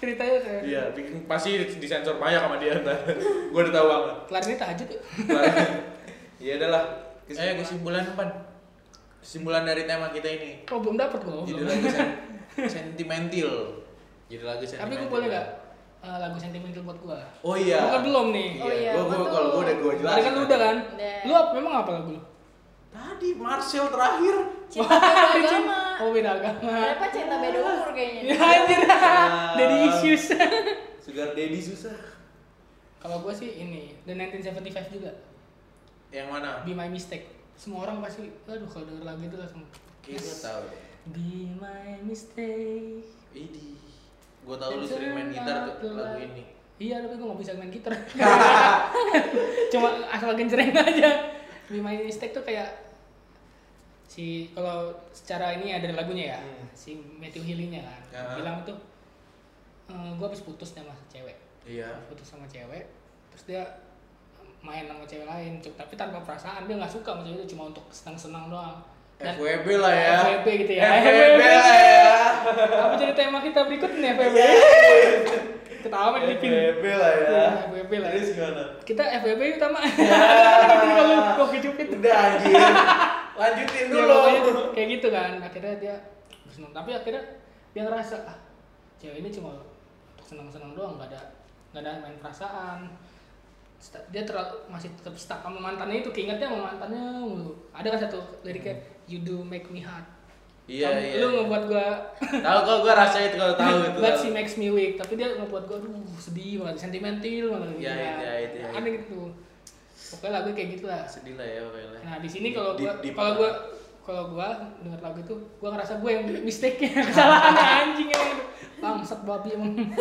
Speaker 5: Ceritanya kayak
Speaker 4: Iya, bikin- pasti disensor banyak sama dia. Nah, gue udah tahu banget.
Speaker 5: kelar ini tahajud ya.
Speaker 4: Iya adalah. Eh, kesimpulan pan. Kesimpulan dari tema kita ini.
Speaker 5: Oh belum dapat gua.
Speaker 4: Judul lagu sen- sentimental. Judul lagu sentimental.
Speaker 5: Tapi gua boleh gak lagu sentimental buat gua?
Speaker 4: Oh iya.
Speaker 5: Bukan belum nih.
Speaker 6: Oh iya,
Speaker 4: Gua, gua,
Speaker 6: betul.
Speaker 4: kalau gua udah gua jelas.
Speaker 5: Tadi kan lu udah kan?
Speaker 6: Udah.
Speaker 5: Lu apa- memang apa lagu lu?
Speaker 4: Tadi Marcel terakhir.
Speaker 6: Cinta beda agama.
Speaker 5: Oh beda agama.
Speaker 6: Kenapa cinta beda umur
Speaker 5: Ya
Speaker 6: kayaknya?
Speaker 5: anjir. Daddy issues.
Speaker 4: Sugar Daddy susah.
Speaker 5: Kalau gua sih ini The 1975 juga.
Speaker 4: Yang mana?
Speaker 5: Be My Mistake. Semua orang pasti aduh kalau denger lagu itu langsung
Speaker 4: Kita tahu.
Speaker 5: Be My Mistake.
Speaker 4: Ini. Gua tahu lu sering main gitar tuh lagu ini.
Speaker 5: Iya, tapi gue gak bisa main gitar. Cuma asal genjreng aja. Be My Mistake tuh kayak si kalau secara ini ya dari lagunya ya,
Speaker 4: Hmm.
Speaker 5: si Matthew Healy-nya kan.
Speaker 4: Ya.
Speaker 5: Bilang tuh gue habis putus sama cewek.
Speaker 4: Iya.
Speaker 5: Putus sama cewek, terus dia main sama cewek lain, cu- tapi tanpa perasaan dia nggak suka sama cewek itu cuma untuk senang-senang doang. Dan
Speaker 4: FWB lah ya.
Speaker 5: FWB gitu ya.
Speaker 4: FWB lah ya.
Speaker 5: apa jadi tema kita berikutnya FWB?
Speaker 4: Iya.
Speaker 5: Ketawa main Iya, bikin.
Speaker 4: FWB lah ya.
Speaker 5: FWB lah.
Speaker 4: Terus gimana?
Speaker 5: kita FBB utama kalau kok kejepit
Speaker 4: Udah anjir. Lanjutin
Speaker 5: Ya,
Speaker 4: dulu.
Speaker 5: pokoknya kayak gitu kan akhirnya dia bersenang tapi akhirnya dia ngerasa ah cewek ini cuma untuk senang-senang doang gak ada gak ada main perasaan Sta- dia terlalu masih tetap stuck sama mantannya itu keingetnya sama mantannya mulu ada kan satu liriknya you do make me hot
Speaker 4: Hmm. Iya,
Speaker 5: Kamu-
Speaker 4: iya.
Speaker 5: lu ngebuat gua
Speaker 4: Tahu kok gua rasain itu kalau tahu itu.
Speaker 5: but she makes me weak tapi dia ngebuat gua aduh sedih banget sentimental banget
Speaker 4: Ya,
Speaker 5: gitu kan.
Speaker 4: ya, itu, ya,
Speaker 5: aneh gitu pokoknya lagu kayak gitulah
Speaker 4: Sedih lah ya pokoknya.
Speaker 5: Nah di sini kalau gua
Speaker 4: Deep, deep.
Speaker 5: kalau gua kalau gua denger lagu itu gua ngerasa gua yang mistake nya kesalahan anjing emang itu. bangsat babi emang.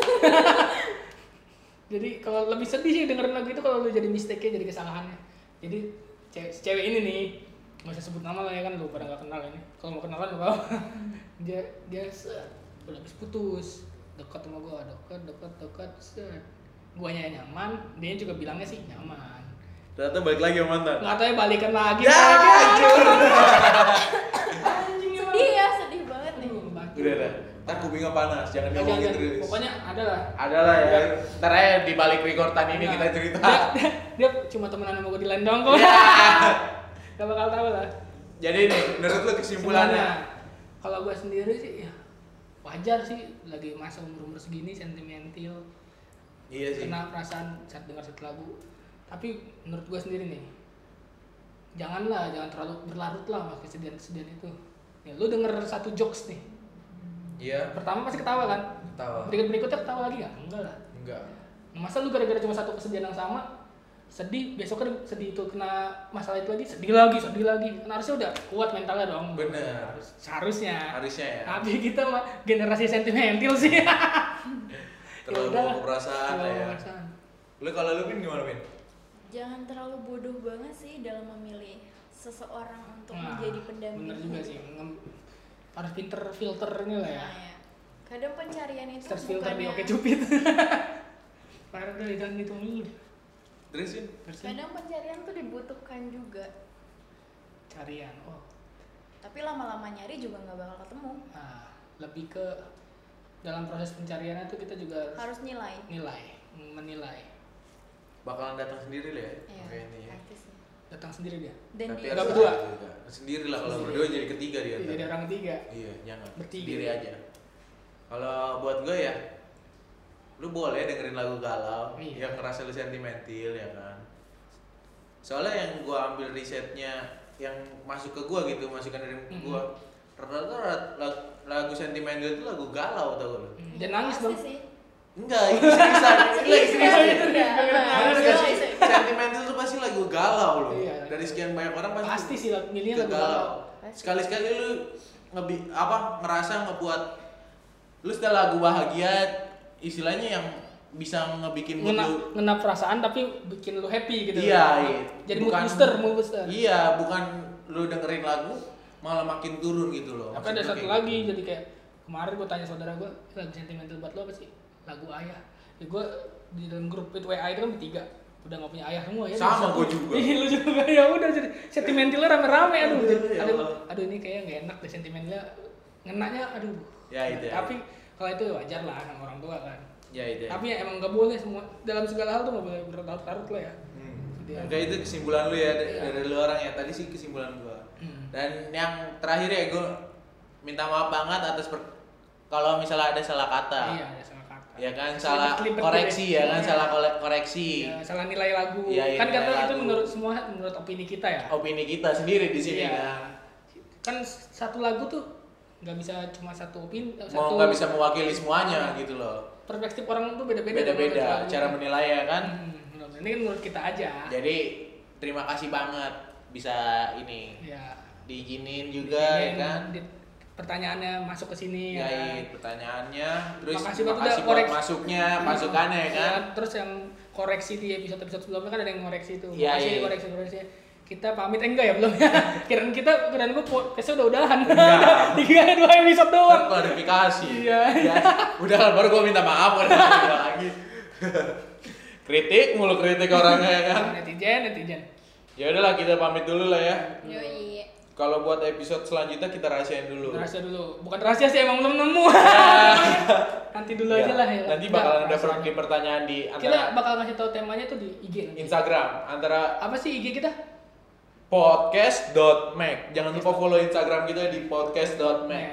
Speaker 5: jadi kalau lebih sedih sih dengerin lagu itu kalau lu jadi mistake nya jadi kesalahannya. Jadi cewek, si cewek ini nih nggak usah sebut nama lah ya kan lu pada nggak kenal ini. Kalau mau kenalan lu bawa. dia dia set, udah habis putus dekat sama gua dekat dekat dekat set. Guanya nyaman, dia juga bilangnya sih nyaman.
Speaker 4: Ternyata balik lagi sama mantan.
Speaker 5: Nggak tahu ya balikan lagi.
Speaker 4: Ya,
Speaker 5: balikan.
Speaker 4: hancur.
Speaker 5: Anjing emang.
Speaker 6: Sedih ya, sedih banget nih.
Speaker 5: Aduh, batin.
Speaker 4: Udah gitu, dah. Ntar kupingnya panas, jangan
Speaker 5: Jangan,
Speaker 4: ngomongin
Speaker 5: Nah, jangan.
Speaker 4: terus.
Speaker 5: Pokoknya ada lah.
Speaker 4: ada lah ya. Ntar aja di balik rekordan ini
Speaker 5: Nah,
Speaker 4: kita cerita.
Speaker 5: Dia, dia- dia cuma temenan sama gue di lendong kok.
Speaker 4: Ya.
Speaker 5: Gak bakal tahu lah.
Speaker 4: Jadi nih, menurut lu kesimpulannya?
Speaker 5: Sebenarnya, Kalau gue sendiri sih ya wajar sih lagi masa umur umur segini sentimental
Speaker 4: Iya sih.
Speaker 5: kena perasaan saat dengar satu lagu tapi menurut gue sendiri nih janganlah jangan terlalu berlarut lah sama kesedihan kesedihan itu ya, lu denger satu jokes nih
Speaker 4: Iya.
Speaker 5: pertama pasti ketawa kan
Speaker 4: Ketawa.
Speaker 5: berikut berikutnya ketawa lagi nggak enggak lah
Speaker 4: Enggak.
Speaker 5: masa lu gara-gara cuma satu kesedihan yang sama sedih besok kan sedih itu kena masalah itu lagi sedih lagi sedih lagi kan harusnya udah kuat mentalnya dong
Speaker 4: Bener.
Speaker 5: Harus- seharusnya
Speaker 4: Harusnya ya.
Speaker 5: tapi kita mah generasi sentimental sih
Speaker 4: Terlalu
Speaker 5: Yaudah lah.
Speaker 4: bawa perasaan lah
Speaker 5: Terlalu
Speaker 4: ya.
Speaker 5: perasaan.
Speaker 4: Lu kalau lu pin gimana pin?
Speaker 6: jangan terlalu bodoh banget sih dalam memilih seseorang untuk
Speaker 5: Nah,
Speaker 6: menjadi pendamping
Speaker 5: bener juga sih Ngem- harus pinter filternya lah ya
Speaker 6: Nah, ya. kadang pencarian itu
Speaker 5: search filter di oke cupid Parah udah jangan gitu mulu deh.
Speaker 4: Dresin
Speaker 5: Terusin.
Speaker 6: kadang pencarian tuh dibutuhkan juga
Speaker 5: carian oh
Speaker 6: tapi lama-lama nyari juga nggak bakal ketemu
Speaker 5: nah lebih ke dalam proses pencariannya tuh kita juga harus
Speaker 6: harus nilai
Speaker 5: nilai menilai
Speaker 4: bakalan datang sendiri lah ya.
Speaker 6: ya,
Speaker 4: Oke, ini ya.
Speaker 6: artis ya.
Speaker 5: datang sendiri dia
Speaker 6: dan
Speaker 4: Tapi
Speaker 6: dia
Speaker 5: harus
Speaker 4: harus
Speaker 5: berdua.
Speaker 4: ada juga. Sendiri lah kalau berdua jadi ketiga dia. ntar.
Speaker 5: jadi orang ketiga
Speaker 4: Iya, jangan.
Speaker 5: Bertiga.
Speaker 4: Sendiri aja. Kalau buat gue ya, lu boleh dengerin lagu galau
Speaker 5: Iya.
Speaker 4: yang ngerasa lu sentimental ya kan. Soalnya yang gue ambil risetnya yang masuk ke gue gitu, masukan dari
Speaker 5: Mhm.
Speaker 4: gue rata-rata rat- lagu, lagu sentimental itu lagu galau tau lu.
Speaker 5: Hmm, dan nangis
Speaker 6: pasti
Speaker 5: dong
Speaker 6: sih.
Speaker 4: Enggak, ini seriusan. Ini lagi
Speaker 6: Serius,
Speaker 4: seriusan.
Speaker 6: serius, iya.
Speaker 5: Nangis
Speaker 6: Iya,
Speaker 5: gak
Speaker 4: Serius.
Speaker 6: serius.
Speaker 4: Sentimental itu pasti lagu galau loh.
Speaker 5: Iya.
Speaker 4: Dari sekian banyak orang pasti,
Speaker 5: pasti sih lah,
Speaker 4: itu
Speaker 5: milihnya lagu galau
Speaker 4: galau.
Speaker 6: Pasti.
Speaker 4: Sekali-sekali lu ngebi apa ngerasa ngebuat lu setelah lagu bahagia istilahnya yang bisa ngebikin mood
Speaker 5: ngena
Speaker 4: lu
Speaker 5: ngena perasaan tapi bikin lu happy gitu
Speaker 4: iya, iya.
Speaker 5: jadi mood booster mood booster
Speaker 4: Iya, bukan lu dengerin lagu malah makin turun gitu loh.
Speaker 5: tapi ada
Speaker 4: Maksudnya
Speaker 5: satu
Speaker 4: kayak
Speaker 5: lagi
Speaker 4: gitu.
Speaker 5: jadi kayak kemarin gue tanya saudara gue lagu sentimental buat lo apa sih lagu ayah ya gue di dalam grup itu WA itu kan bertiga udah gak punya ayah semua ya
Speaker 4: Sama
Speaker 5: Satu.
Speaker 4: gua juga.
Speaker 5: Ih, lu juga ya udah jadi sentimentalnya rame-rame aduh
Speaker 4: Iya, iya,
Speaker 5: aduh,
Speaker 4: Allah.
Speaker 5: aduh ini kayaknya nggak enak deh sentimentalnya ngenaknya aduh
Speaker 4: Ya, itu ya.
Speaker 5: tapi kalau itu wajar lah sama orang tua kan
Speaker 4: Ya itu. ya.
Speaker 5: tapi ya emang gak boleh semua dalam segala hal tuh gak boleh berlarut-larut lah ya Iya.
Speaker 4: Hmm. Oke itu kesimpulan lu ya dari,
Speaker 5: Iya.
Speaker 4: dari lu orang ya tadi sih kesimpulan gua.
Speaker 5: Hmm.
Speaker 4: Dan yang terakhir ya gua minta maaf banget atas per- kalau misalnya ada salah kata.
Speaker 5: iya ada salah kata
Speaker 4: Nah. Ya kan salah
Speaker 5: Kelibet-kelibet
Speaker 4: koreksi
Speaker 5: gitu
Speaker 4: ya kan
Speaker 5: Iya.
Speaker 4: salah kole- koreksi.
Speaker 5: Ya, salah nilai lagu
Speaker 4: Iya, iya,
Speaker 5: kan
Speaker 4: nilai
Speaker 5: kata itu
Speaker 4: lagu.
Speaker 5: menurut semua menurut opini kita ya
Speaker 4: Opini kita sendiri di sini
Speaker 5: Iya.
Speaker 4: kan.
Speaker 5: kan satu lagu tuh nggak bisa cuma satu opini eh,
Speaker 4: Mau
Speaker 5: satu
Speaker 4: nggak bisa mewakili semuanya gitu loh.
Speaker 5: perspektif orang tuh beda-beda
Speaker 4: Beda-beda cara Iya. menilai ya kan.
Speaker 5: menilai ini kan menurut kita aja
Speaker 4: Jadi terima kasih banget bisa ini
Speaker 5: ya
Speaker 4: diizinin juga ya
Speaker 5: ini
Speaker 4: kan. iya.
Speaker 5: di- pertanyaannya masuk ke sini ya kan.
Speaker 4: Yain pertanyaannya, terus
Speaker 5: Makasih
Speaker 4: makasih,
Speaker 5: banget udah Iya.
Speaker 4: buat
Speaker 5: koreks-
Speaker 4: masuknya, masukannya ya kan.
Speaker 5: Ya, terus yang koreksi di episode episode sebelumnya kan ada yang koreksi tuh
Speaker 4: Iya,
Speaker 5: makasih
Speaker 4: iya.
Speaker 5: koreksi koreksi kita pamit eh, enggak ya belum ya kirain kita kirain gua podcast udah udahan
Speaker 4: Enggak.
Speaker 5: tiga dua episode
Speaker 4: Ntar
Speaker 5: doang
Speaker 4: klarifikasi.
Speaker 5: Iya.
Speaker 4: Ya, udah lah, baru gue minta maaf udah nggak ada lagi. kritik mulu kritik orangnya ya kan.
Speaker 5: netizen netizen
Speaker 4: Ya udahlah kita pamit dulu lah ya.
Speaker 5: Iya.
Speaker 6: Yoi.
Speaker 4: Kalau buat episode selanjutnya kita rahasiain dulu.
Speaker 5: rahasia dulu bukan rahasia sih emang belum nemu nanti dulu
Speaker 4: Ya,
Speaker 5: aja lah ya
Speaker 4: Nanti
Speaker 5: Enggak,
Speaker 4: bakalan ada
Speaker 5: rahasianya.
Speaker 4: per- di pertanyaan di
Speaker 5: kita
Speaker 4: antara
Speaker 5: bakal ngasih tahu temanya tuh di IG nanti.
Speaker 4: Instagram antara
Speaker 5: apa sih IG kita
Speaker 4: podcast.mac. Jangan lupa follow Instagram kita di podcast.mac.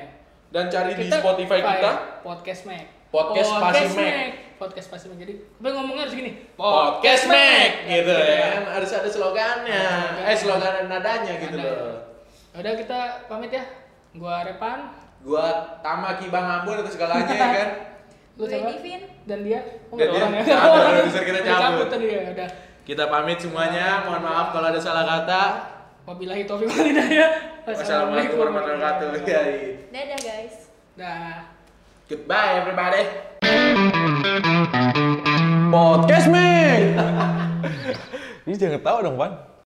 Speaker 4: Dan cari di Spotify kita.
Speaker 5: podcast Mac
Speaker 4: Podcast Pasi Mac.
Speaker 5: podcast Pasi Mac jadi tapi ngomongnya harus gini
Speaker 4: Podcast Mac gitu
Speaker 5: Gitu
Speaker 4: ya. Harus ada slogannya.
Speaker 5: Slogannya.
Speaker 4: Eh slogan dan nadanya gitu
Speaker 5: Ada.
Speaker 4: loh.
Speaker 5: Ya udah kita pamit ya gua Repan
Speaker 4: Gua Tamaki Bang Ambon atau segalanya ya kan.
Speaker 5: lu
Speaker 6: Gue
Speaker 5: siapa?
Speaker 6: Divin.
Speaker 5: dan dia oh,
Speaker 4: Dan
Speaker 5: ada
Speaker 4: dia.
Speaker 5: orang ya
Speaker 4: Ada,
Speaker 5: Orang.
Speaker 4: produser kita
Speaker 5: Udah
Speaker 4: cabut.
Speaker 5: tadi ya udah
Speaker 4: Kita pamit semuanya. Mohon maaf kalau ada salah kata.
Speaker 5: wabillahi taufiq wal hidayah
Speaker 4: Wassalamualaikum warahmatullahi wabarakatuh. Ya, iya.
Speaker 6: Dadah guys.
Speaker 5: dah
Speaker 4: Goodbye everybody. Podcast Mac. Ini jangan tahu dong, Pan.